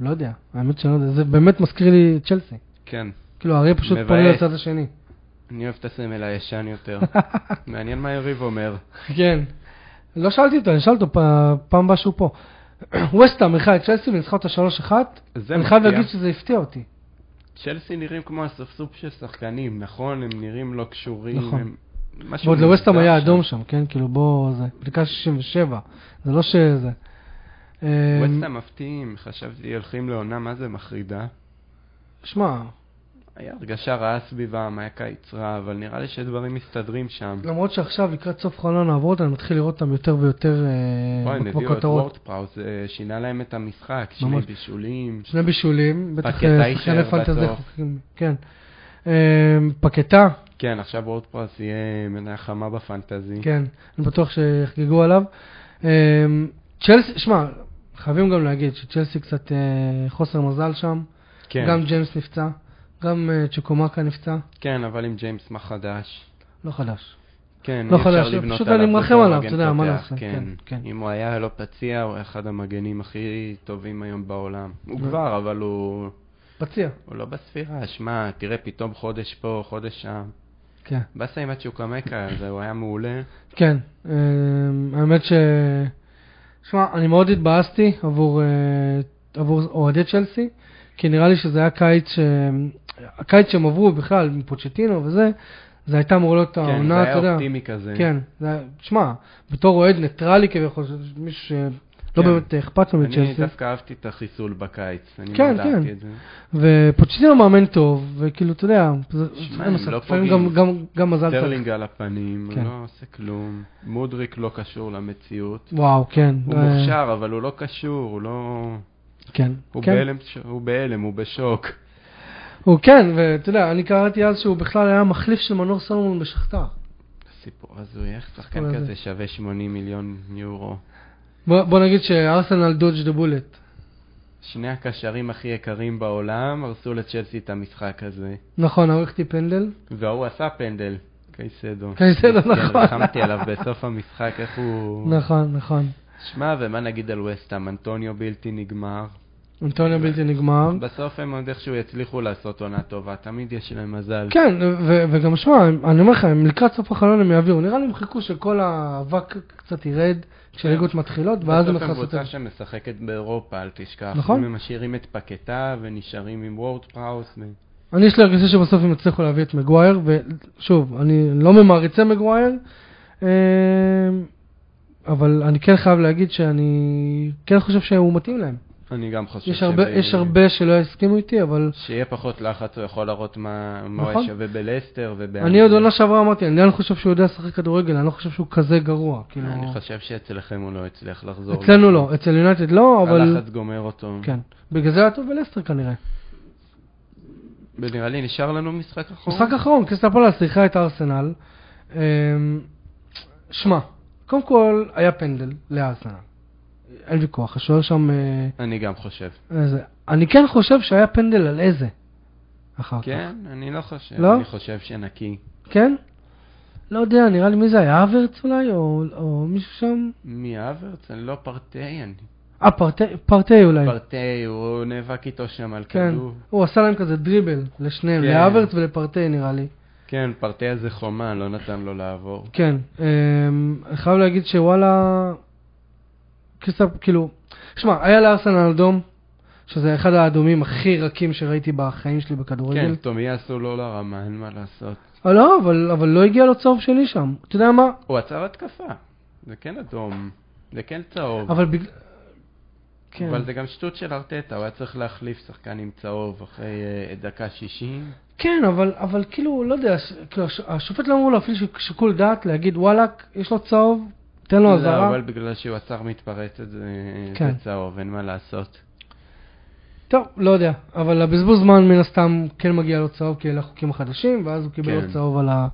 Speaker 1: לא יודע, האמת שאני לא יודע, זה באמת מזכיר לי את צ'לסי.
Speaker 2: כן.
Speaker 1: כאילו, האריה פשוט
Speaker 2: מבאס.
Speaker 1: פונה לצד השני.
Speaker 2: אני אוהב את הסמל הישן יותר. מעניין מה יריב אומר.
Speaker 1: כן. לא שאלתי אותו, אני אשאל אותו פ- פעם הבאה שהוא פה. ווסטהאם אירחה את צ'לסי וניצחה אותה 3-1.
Speaker 2: זה
Speaker 1: אני חייב
Speaker 2: מפתיע.
Speaker 1: להגיד שזה הפתיע אותי.
Speaker 2: צ'לסי נראים כמו אספסוף של שחקנים, נכון? הם נראים לא קשורים.
Speaker 1: נכון.
Speaker 2: הם- משהו
Speaker 1: ועוד לווסטהאם
Speaker 2: מוזר
Speaker 1: לא היה
Speaker 2: שם.
Speaker 1: אדום שם, כן? כאילו בוא, זה, בדקה 67, זה לא שזה. אה,
Speaker 2: ווסטהאם מפתיעים, חשבתי הולכים לעונה מה זה מחרידה.
Speaker 1: שמע,
Speaker 2: היה הרגשה רעה סביבם, היה קיץ רע, אבל נראה לי שדברים מסתדרים שם.
Speaker 1: למרות שעכשיו לקראת סוף חלון העברות, אני מתחיל לראות אותם יותר ויותר אה,
Speaker 2: וואי, הם הביאו את
Speaker 1: בכותרות.
Speaker 2: וורדפראוס, אה, שינה להם את המשחק, שני
Speaker 1: ממש.
Speaker 2: בישולים.
Speaker 1: שני בישולים, בטח
Speaker 2: פקטה
Speaker 1: אה,
Speaker 2: יישאר
Speaker 1: שחקני פנטזי
Speaker 2: בסוף.
Speaker 1: חוקים, כן. אה, פקטה,
Speaker 2: כן, עכשיו וורדפראוס יהיה מנה חמה בפנטזי.
Speaker 1: כן, אני בטוח שיחגגו עליו. אה, צ'לסי, שמע, חייבים גם להגיד שצ'לסי קצת אה, חוסר מזל שם.
Speaker 2: כן,
Speaker 1: גם ג'יימס נפצע, גם אה, צ'קומקה נפצע,
Speaker 2: כן, אבל עם ג'יימס מה חדש?
Speaker 1: לא חדש.
Speaker 2: כן,
Speaker 1: לא
Speaker 2: אי אפשר
Speaker 1: חדש,
Speaker 2: לבנות
Speaker 1: פשוט
Speaker 2: עליו
Speaker 1: אני מרחם
Speaker 2: בתור
Speaker 1: עליו,
Speaker 2: מגן
Speaker 1: אתה יודע, מה
Speaker 2: פותח,
Speaker 1: לעשות,
Speaker 2: כן,
Speaker 1: כן, כן.
Speaker 2: אם הוא היה לא פציע, הוא אחד המגנים הכי טובים היום בעולם. הוא כבר, אבל הוא
Speaker 1: פציע.
Speaker 2: הוא לא בספירה. שמע, תראה, פתאום חודש פה, חודש שם.
Speaker 1: כן.
Speaker 2: באסה עם הצ'וקמקה, זה הוא היה מעולה.
Speaker 1: כן, אמ, האמת ש... שמע, אני מאוד התבאסתי עבור, אה, עבור אוהדי צ'לסי, כי נראה לי שזה היה קיץ ש... הקיץ שהם עברו בכלל, מפוצ'טינו וזה, זה הייתה אמור להיות
Speaker 2: כן, זה
Speaker 1: העונה, אתה
Speaker 2: היה
Speaker 1: יודע.
Speaker 2: אופטימי כזה.
Speaker 1: כן, זה היה... שמע, בתור אוהד ניטרלי כביכול, זה מישהו שלא
Speaker 2: כן.
Speaker 1: באמת אכפת לו
Speaker 2: אני
Speaker 1: מצ'לסי,
Speaker 2: דווקא אהבתי את החיסול בקיץ. אני
Speaker 1: כן,
Speaker 2: מאוד אהבתי
Speaker 1: כן.
Speaker 2: את זה.
Speaker 1: ופוצ'טינו מאמן טוב, וכאילו, אתה יודע, זה-
Speaker 2: שמע,
Speaker 1: אין
Speaker 2: הם
Speaker 1: מה
Speaker 2: לא
Speaker 1: לעשות, לפעמים
Speaker 2: פוגעים.
Speaker 1: גם- גם- גם מזל צריך.
Speaker 2: סטרלינג על הפנים, הוא
Speaker 1: כן.
Speaker 2: לא עושה כלום. מודריק לא קשור למציאות.
Speaker 1: וואו, כן.
Speaker 2: הוא
Speaker 1: אה,
Speaker 2: מוכשר, אבל הוא לא קשור, הוא לא...
Speaker 1: כן.
Speaker 2: הוא
Speaker 1: כן.
Speaker 2: בהלם, הוא בהלם, הוא בשוק.
Speaker 1: הוא כן, ואתה יודע, אני קראתי אז שהוא בכלל היה מחליף של מנור סלומון בשכתר.
Speaker 2: סיפור הזוי, איך שחקן
Speaker 1: הסיפור הזה.
Speaker 2: כזה שווה 80 מיליון יורו.
Speaker 1: בוא, בוא נגיד שארסנל דודג' דה בולט.
Speaker 2: שני הקשרים הכי יקרים בעולם הרסו לצ'לסי את המשחק הזה.
Speaker 1: נכון, ערכתי פנדל.
Speaker 2: והוא עשה פנדל, קייסדו.
Speaker 1: קייסדו,
Speaker 2: כן,
Speaker 1: נכון.
Speaker 2: לחמתי עליו בסוף המשחק, איך הוא...
Speaker 1: נכון, נכון.
Speaker 2: שמע, ומה נגיד על וסטאם? אנטוניו בלתי נגמר.
Speaker 1: אנטוניו בלתי נגמר.
Speaker 2: בסוף הם עוד איכשהו יצליחו לעשות עונה טובה, תמיד יש להם מזל.
Speaker 1: כן, ו- וגם שמע, הם- אני אומר לך, הם לקראת סוף החלון הם יעבירו. נראה לי הם חיכו שכל האבק קצת ירד כשליגות מתחילות, ואז כן. הם
Speaker 2: בסוף הם
Speaker 1: נכנסו את זה.
Speaker 2: קבוצה שמשחקת באירופה, אל תשכח.
Speaker 1: נכון.
Speaker 2: הם משאירים את פקטה ונשארים עם וורד פראוס. ו-
Speaker 1: אני יש לי הרגשה שבסוף הם יצליחו להביא את מגווייר, ושוב, אני לא ממעריצי מגווייר, אה, אבל אני כן חייב להגיד שאני כן חושב שהוא מתאים להם.
Speaker 2: אני גם חושב אה,
Speaker 1: יש הרבה, יש הרבה שלא יסכימו איתי, אבל
Speaker 2: שיהיה פחות לחץ, הוא יכול להראות מה מה הוא
Speaker 1: נכון.
Speaker 2: היה שווה בלסטר ובאנגליה.
Speaker 1: אני עוד לא עונה שעברה אמרתי, אני עדיין חושב שהוא יודע לשחק כדורגל, אני לא חושב שהוא כזה גרוע. כאילו,
Speaker 2: אני חושב שאצלכם הוא לא יצליח לחזור.
Speaker 1: אצלנו לא, אצל יונייטד לא, אבל...
Speaker 2: הלחץ גומר אותו.
Speaker 1: כן. בגלל זה היה טוב בלסטר כנראה.
Speaker 2: נכון. ונראה לי נשאר לנו משחק אחרון.
Speaker 1: משחק אחרון, קריסטל פלאס שיחקה את ארסנל. אמ, שמע, קודם כל היה פנדל לארסנל. אין ויכוח, השוער שם... אה,
Speaker 2: אני גם חושב.
Speaker 1: איזה- אני כן חושב שהיה פנדל על איזה. אחר כך.
Speaker 2: כן, אני לא חושב.
Speaker 1: לא?
Speaker 2: אני חושב שנקי.
Speaker 1: כן? לא יודע, נראה לי מי זה היה, אברץ אולי, או או מישהו שם?
Speaker 2: מי האוורץ? אני לא פרטי, אני...
Speaker 1: אה, פרטי- פרטי אולי.
Speaker 2: פרטי, הוא נאבק איתו שם על
Speaker 1: כן.
Speaker 2: כדור.
Speaker 1: הוא עשה להם כזה דריבל, לשניהם,
Speaker 2: כן.
Speaker 1: לאברץ ולפרטי נראה לי.
Speaker 2: כן, פרטי הזה חומה, לא נתן לו לעבור.
Speaker 1: כן, אמ, אני חייב להגיד שוואלה, קריסטל, כאילו, שמע, היה לארסנל אדום, שזה אחד האדומים הכי רכים שראיתי בחיים שלי בכדורגל.
Speaker 2: כן, תומיאס הוא לא לרמה, אין מה לעשות.
Speaker 1: אה, לא, אבל, אבל לא הגיע לו צהוב שלי שם. אתה יודע מה?
Speaker 2: הוא עצר התקפה. זה כן אדום. זה כן צהוב.
Speaker 1: אבל בגלל... כן.
Speaker 2: אבל זה גם שטות של ארטטה, הוא היה צריך להחליף שחקן עם צהוב אחרי אה, דקה 60.
Speaker 1: כן, אבל, אבל כאילו, לא יודע, ש... כאילו, הש- השופט לא אמור להפעיל ש- שיקול דעת, להגיד וואלאק, יש לו צהוב, תן לו אזהרה.
Speaker 2: לא, אבל בגלל שהוא עצר מתפרצת זה
Speaker 1: לא, כן.
Speaker 2: זה צהוב, אין מה לעשות.
Speaker 1: טוב, לא יודע, אבל הבזבוז זמן מן הסתם כן מגיע לו צהוב, כי אלה החוקים החדשים, ואז הוא קיבל
Speaker 2: כן. לא,
Speaker 1: עוד צהוב על ה...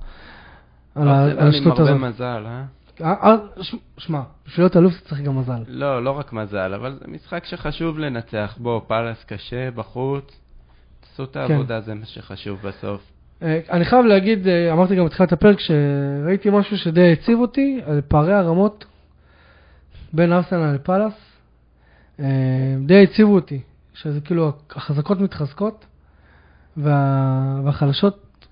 Speaker 1: על ה-
Speaker 2: ארסנל
Speaker 1: על השטות הזאת.
Speaker 2: עם הרבה מזל, אה?
Speaker 1: אה, אה, ש- שמע, בשביל להיות אלוף אתה צריך גם מזל.
Speaker 2: לא, לא רק מזל, אבל זה משחק שחשוב לנצח בו, פאלאס קשה, בחוץ. תעשו את העבודה, זה מה שחשוב בסוף.
Speaker 1: אה, אני חייב להגיד, אה, אמרתי גם בתחילת הפרק, שראיתי משהו שדי הציב אותי, על פערי הרמות בין ארסנל לפאלאס. אה, די הציבו אותי, שזה כאילו החזקות מתחזקות, וה... והחלשות,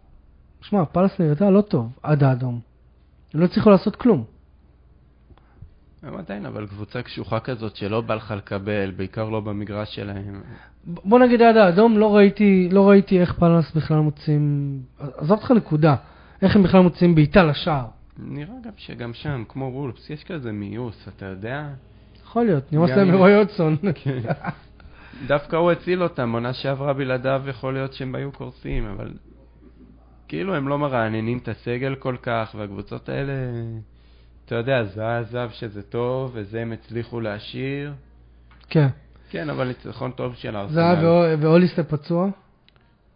Speaker 1: שמע, פאלאס נראתה לא טוב עד האדום. הם לא הצליחו לעשות כלום.
Speaker 2: הם עדיין, אבל קבוצה קשוחה כזאת שלא בא לך לקבל, בעיקר לא במגרש שלהם.
Speaker 1: ב- בוא נגיד עד האדום, לא ראיתי, לא ראיתי איך פאלאס בכלל מוצאים, עזוב אותך נקודה, איך הם בכלל מוצאים בעיטה לשער.
Speaker 2: נראה גם שגם שם, כמו וולפס, יש כזה מיאוס, אתה יודע?
Speaker 1: יכול להיות, נמאס
Speaker 2: גם
Speaker 1: להם
Speaker 2: אם- כן.
Speaker 1: מרועי הודסון.
Speaker 2: דווקא הוא הציל אותם, עונה שעברה בלעדיו יכול להיות שהם היו קורסים, אבל כאילו הם לא מרעננים את הסגל כל כך, והקבוצות האלה, אתה יודע, זה עזב שזה טוב, וזה הם הצליחו להשאיר.
Speaker 1: כן,
Speaker 2: כן, אבל ניצחון טוב של
Speaker 1: זהב
Speaker 2: ארסנל.
Speaker 1: ואו- ואוליסטה פצוע.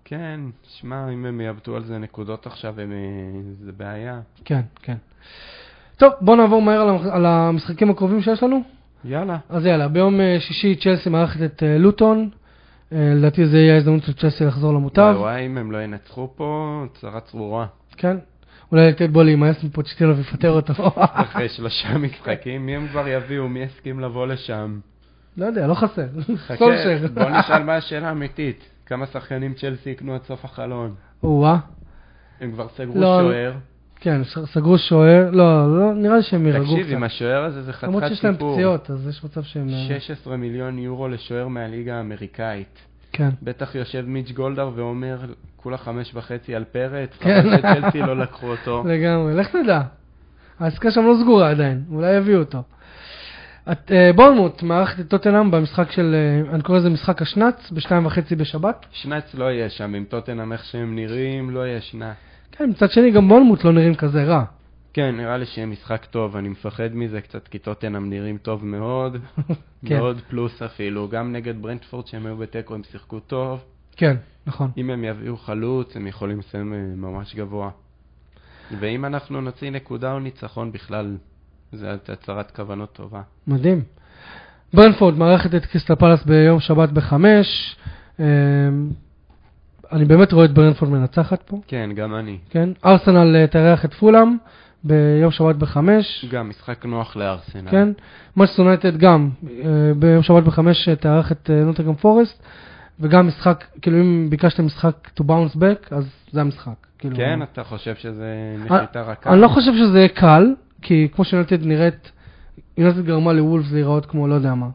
Speaker 2: כן, שמע, אם הם יאבדו על זה נקודות עכשיו, הם... אה, זה בעיה.
Speaker 1: כן, כן. טוב, בוא נעבור מהר על המח- על המשחקים הקרובים שיש לנו.
Speaker 2: יאללה.
Speaker 1: אז יאללה, ביום אה, שישי צ'לסי מארחת את אה, לוטון. אה, לדעתי זה יהיה ההזדמנות של צ'לסי לחזור למוטב.
Speaker 2: וואי וואי, אם הם לא ינצחו פה, צרה צרורה.
Speaker 1: כן. אולי לתת בו להימאס מפוצ'טינו ויפטר אותו.
Speaker 2: אחרי שלושה משחקים, מי הם כבר יביאו? מי יסכים לבוא לשם?
Speaker 1: לא יודע, לא חסר.
Speaker 2: חכה,
Speaker 1: סולשר.
Speaker 2: בוא נשאל מה השאלה האמיתית. כמה שחקנים צ'לסי יקנו עד סוף החלון?
Speaker 1: או-אה.
Speaker 2: הם כבר סגרו
Speaker 1: לא,
Speaker 2: שוער.
Speaker 1: כן, ס- סגרו שוער, לא, לא, נראה לי שהם ירגעו קצת.
Speaker 2: תקשיב, עם השוער הזה זה חתיכת
Speaker 1: למרות שיש להם
Speaker 2: סיפור.
Speaker 1: פציעות, אז יש מצב שהם... אה,
Speaker 2: 16 מיליון יורו לשוער מהליגה האמריקאית.
Speaker 1: כן.
Speaker 2: בטח יושב מיץ' גולדהר ואומר, כולה חמש וחצי על פרץ,
Speaker 1: כן.
Speaker 2: חבל שצ'לסי לא לקחו אותו.
Speaker 1: לגמרי, לך תדע. העסקה שם לא סגורה עדיין, אולי יביאו אותו. את, אה, בורנמוט מארחת את טוטנאם במשחק של, אה, אני קורא לזה משחק השנץ, בשתיים וחצי בשבת.
Speaker 2: שנץ לא יהיה שם, עם טוטנאם איך שהם נראים, לא יהיה שנץ.
Speaker 1: כן, מצד שני גם בורנמוט לא נראים כזה רע.
Speaker 2: כן, נראה לי שיהיה משחק טוב, אני מפחד מזה קצת, כי טוטנאם נראים טוב מאוד,
Speaker 1: כן.
Speaker 2: מאוד פלוס אפילו, גם נגד ברנדפורד שהם היו בתיקו הם שיחקו טוב,
Speaker 1: כן, נכון.
Speaker 2: אם הם יביאו חלוץ הם יכולים לסיים אה, ממש גבוה. ואם אנחנו נוציא נקודה או ניצחון בכלל, זו הצהרת כוונות טובה.
Speaker 1: מדהים. ברנפורד מארחת את קריסטל פלאס ביום שבת בחמש. אה, אני באמת רואה את ברנפורד מנצחת פה.
Speaker 2: כן, גם אני.
Speaker 1: כן, ארסנל אה, תארח את פולאם, ביום שבת בחמש.
Speaker 2: גם משחק נוח לארסנל.
Speaker 1: כן? מנצ'סטר יונייטד גם, אה, ביום שבת בחמש אה, תארח את נוטרגרם פורסט, וגם משחק, כאילו אם ביקשתם משחק to bounce back, אז זה המשחק. כאילו,
Speaker 2: כן, אתה חושב שזה נחיתה רכה?
Speaker 1: אני לא חושב שזה יהיה קל, כי כמו שיונייטד נראית, יונייטד גרמה לוולפס להיראות כמו לא יודע מה,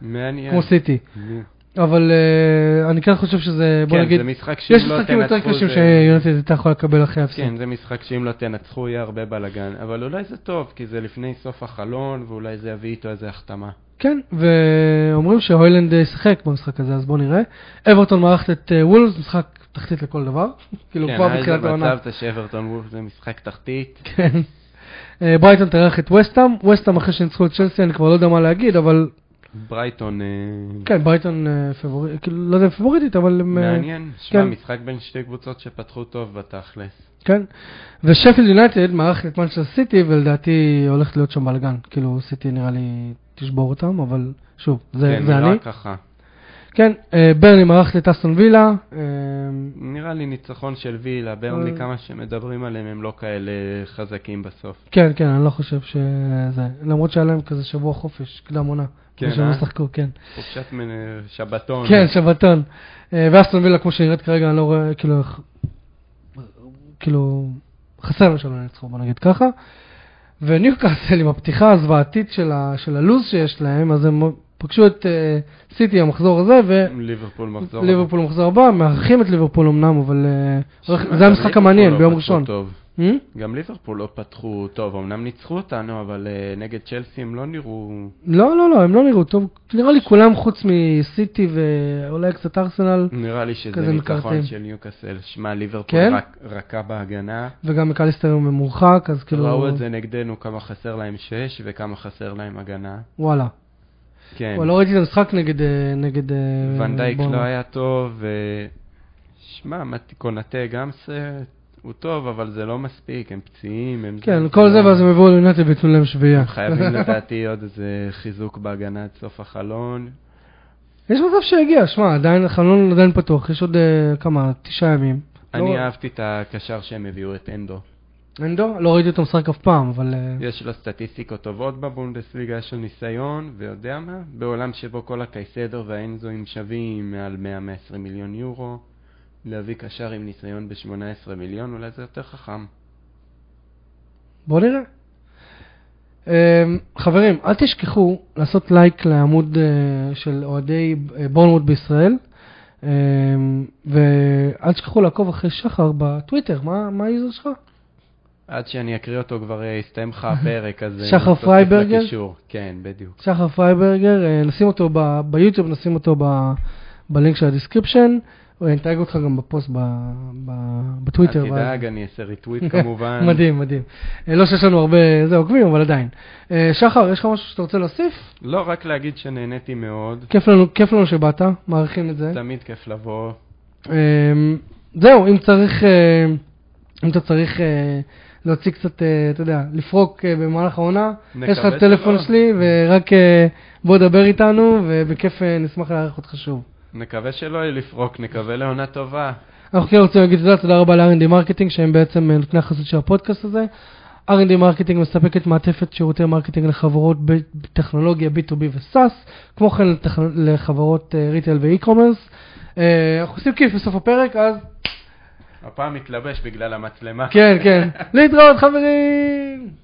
Speaker 2: מעניין.
Speaker 1: כמו סיטי.
Speaker 2: מעניין.
Speaker 1: אבל אה, אני כן חושב שזה, בוא
Speaker 2: כן,
Speaker 1: נגיד,
Speaker 2: זה משחק שאם
Speaker 1: יש
Speaker 2: לא
Speaker 1: משחקים יותר
Speaker 2: תנצחו
Speaker 1: קשים
Speaker 2: זה-
Speaker 1: שיונייטד הייתה יכולה לקבל אחרי הפסד.
Speaker 2: כן, זה משחק שאם לא תנצחו יהיה הרבה בלאגן, אבל אולי זה טוב, כי זה לפני סוף החלון, ואולי זה יביא איתו איזה החתמה.
Speaker 1: כן, ואומרים שהוילנד אה, שיחק במשחק הזה, אז בואו נראה. אברטון מארחת את אה, וולפס, משחק תחתית לכל דבר. כאילו
Speaker 2: כן,
Speaker 1: כבר
Speaker 2: היה איזה
Speaker 1: בתחילת העונה.
Speaker 2: מצב, זה שאברטון וולף זה משחק תחתית.
Speaker 1: כן. אה, ברייטון תארח את וסטאם, וסטאם אחרי שניצחו את צ'לסי, אני כבר לא יודע מה להגיד, אבל
Speaker 2: ברייטון, אה,
Speaker 1: כן, ברייטון אה, פבורית, כאילו לא יודע אם פבוריטית, אבל הם... אה,
Speaker 2: מעניין. שמע,
Speaker 1: כן.
Speaker 2: משחק בין שתי קבוצות שפתחו טוב בתכלס.
Speaker 1: כן. ושפילד יונייטד מארחת את מנצ'סטר סיטי, ולדעתי הולכת להיות שם בלאגן. כאילו סיטי נראה לי תשבור אותם, אבל שוב, זה
Speaker 2: כן,
Speaker 1: זה
Speaker 2: נראה
Speaker 1: אני.
Speaker 2: ככה.
Speaker 1: כן, אה, ברני מארחת את אסטון וילה. אה,
Speaker 2: נראה לי ניצחון של וילה, ברנלי
Speaker 1: אה.
Speaker 2: כמה שמדברים עליהם הם לא כאלה חזקים בסוף.
Speaker 1: כן, כן, אני לא חושב שזה... למרות שהיה להם כזה שבוע חופש, קדם עונה.
Speaker 2: כן,
Speaker 1: שהם
Speaker 2: אה? נכון.
Speaker 1: לא שחקו, כן.
Speaker 2: חופשת מנ- שבתון.
Speaker 1: כן, שבתון. אה, ואסטון וילה, כמו שהיא נראית כרגע, אני לא רואה, כאילו, ח- כאילו, חסר לנו שלא ינצחו, בוא נגיד ככה. וניוקאסל עם הפתיחה הזוועתית של, ה, של הלוז שיש להם, אז הם פגשו את אה, סיטי המחזור הזה,
Speaker 2: נכון, ליברפול מחזור.
Speaker 1: וליברפול המחזור הבא, מארחים את ליברפול אמנם, אבל אה,
Speaker 2: שמע,
Speaker 1: זה
Speaker 2: גם
Speaker 1: המשחק
Speaker 2: ליברפול
Speaker 1: המעניין
Speaker 2: לא
Speaker 1: ביום
Speaker 2: פתחו
Speaker 1: ראשון.
Speaker 2: טוב.
Speaker 1: Hmm?
Speaker 2: גם ליברפול לא פתחו טוב, אמנם ניצחו אותנו, אבל אה, נגד צ'לסי הם לא נראו...
Speaker 1: לא, לא, לא, הם לא נראו טוב. נראה לי כולם חוץ מסיטי ואולי קצת ארסנל,
Speaker 2: נראה לי שזה
Speaker 1: כזה
Speaker 2: ניצחון
Speaker 1: מקרטעים.
Speaker 2: של ניוקאסל. שמע, ליברפול
Speaker 1: כן?
Speaker 2: רק- רכה בהגנה.
Speaker 1: וגם מקליסטר ממורחק, אז כאילו...
Speaker 2: ראו את זה נגדנו, כמה חסר להם שש וכמה חסר להם הגנה.
Speaker 1: וואלה.
Speaker 2: כן,
Speaker 1: וואלה, לא ראיתי את המשחק נגד... אה, נגד אה,
Speaker 2: ונדייק
Speaker 1: בורנו.
Speaker 2: לא היה טוב, ו- שמע, מת- קונטה גם ס- הוא טוב, אבל זה לא מספיק, הם פציעים, הם...
Speaker 1: כן, כל זה,
Speaker 2: לא-
Speaker 1: ואז הם יבואו ליונטד ויתנו להם שביעייה.
Speaker 2: הם חייבים לדעתי עוד איזה חיזוק בהגנה עד סוף החלון.
Speaker 1: יש מצב שיגיע, שמע, עדיין, החלון עדיין פתוח, יש עוד אה, כמה, תשעה ימים.
Speaker 2: אני
Speaker 1: לא-
Speaker 2: אהבתי את הקשר שהם הביאו, את אנדו.
Speaker 1: אנדו? לא ראיתי אותו משחק אף פעם, אבל... אה,
Speaker 2: יש לו סטטיסטיקות טובות בבונדסליגה, יש לו ניסיון, ויודע מה, בעולם שבו כל הקייסדו והאנזואים שווים מעל 100-120 מיליון יורו, להביא קשר עם ניסיון ב-18 מיליון, אולי זה יותר חכם.
Speaker 1: בואו נראה. אמ, חברים, אל תשכחו לעשות לייק לעמוד אה, של אוהדי אה, בורנמוט בישראל, אמ, ואל תשכחו לעקוב אחרי שחר בטוויטר, מה מה היוזר שלך?
Speaker 2: עד שאני אקריא אותו כבר אה, יסתיים לך הפרק, אז... אה,
Speaker 1: שחר
Speaker 2: תוסיף
Speaker 1: פרייברגר?
Speaker 2: לקישור. כן, בדיוק.
Speaker 1: שחר פרייברגר, אה, נשים אותו ב- ביוטיוב, נשים אותו ב- בלינק של הדיסקריפשן, אוקיי, אני אתייג אותך גם בפוסט ב- ב- בטוויטר.
Speaker 2: אל
Speaker 1: ואז-
Speaker 2: תדאג, אני אעשה ריטוויט כמובן.
Speaker 1: מדהים, מדהים. אה, לא שיש לנו הרבה זה עוקבים, אבל עדיין. אה, שחר, יש לך משהו שאתה רוצה להוסיף?
Speaker 2: לא, רק להגיד שנהניתי מאוד,
Speaker 1: כיף לנו, כיף לנו שבאת, מעריכים את זה.
Speaker 2: תמיד כיף לבוא.
Speaker 1: אמ, זהו, אם צריך, אמ, אם אתה צריך אה, להוציא קצת, אה, אתה יודע, לפרוק אה, במהלך העונה,
Speaker 2: נקווה
Speaker 1: יש לך את הטלפון
Speaker 2: שלא.
Speaker 1: שלי, ורק אה, בוא דבר איתנו, ובכיף אה, נשמח לארח אותך שוב.
Speaker 2: נקווה שלא יהיה לפרוק, נקווה לעונה טובה.
Speaker 1: אנחנו כן רוצים להגיד תודה, תודה רבה ל-R&D מרקטינג, שהם בעצם אה, נותני החסות של הפודקאסט הזה. R&D מרקטינג מספקת מעטפת שירותי מרקטינג לחברות בטכנולוגיה B2B ו-SAS, כמו כן לטכ- לחברות אה, ריטייל ואי-קומרס. אה, אנחנו עושים כיף בסוף הפרק, אז
Speaker 2: הפעם מתלבש בגלל המצלמה.
Speaker 1: כן, כן. להתראות, כן. חברים!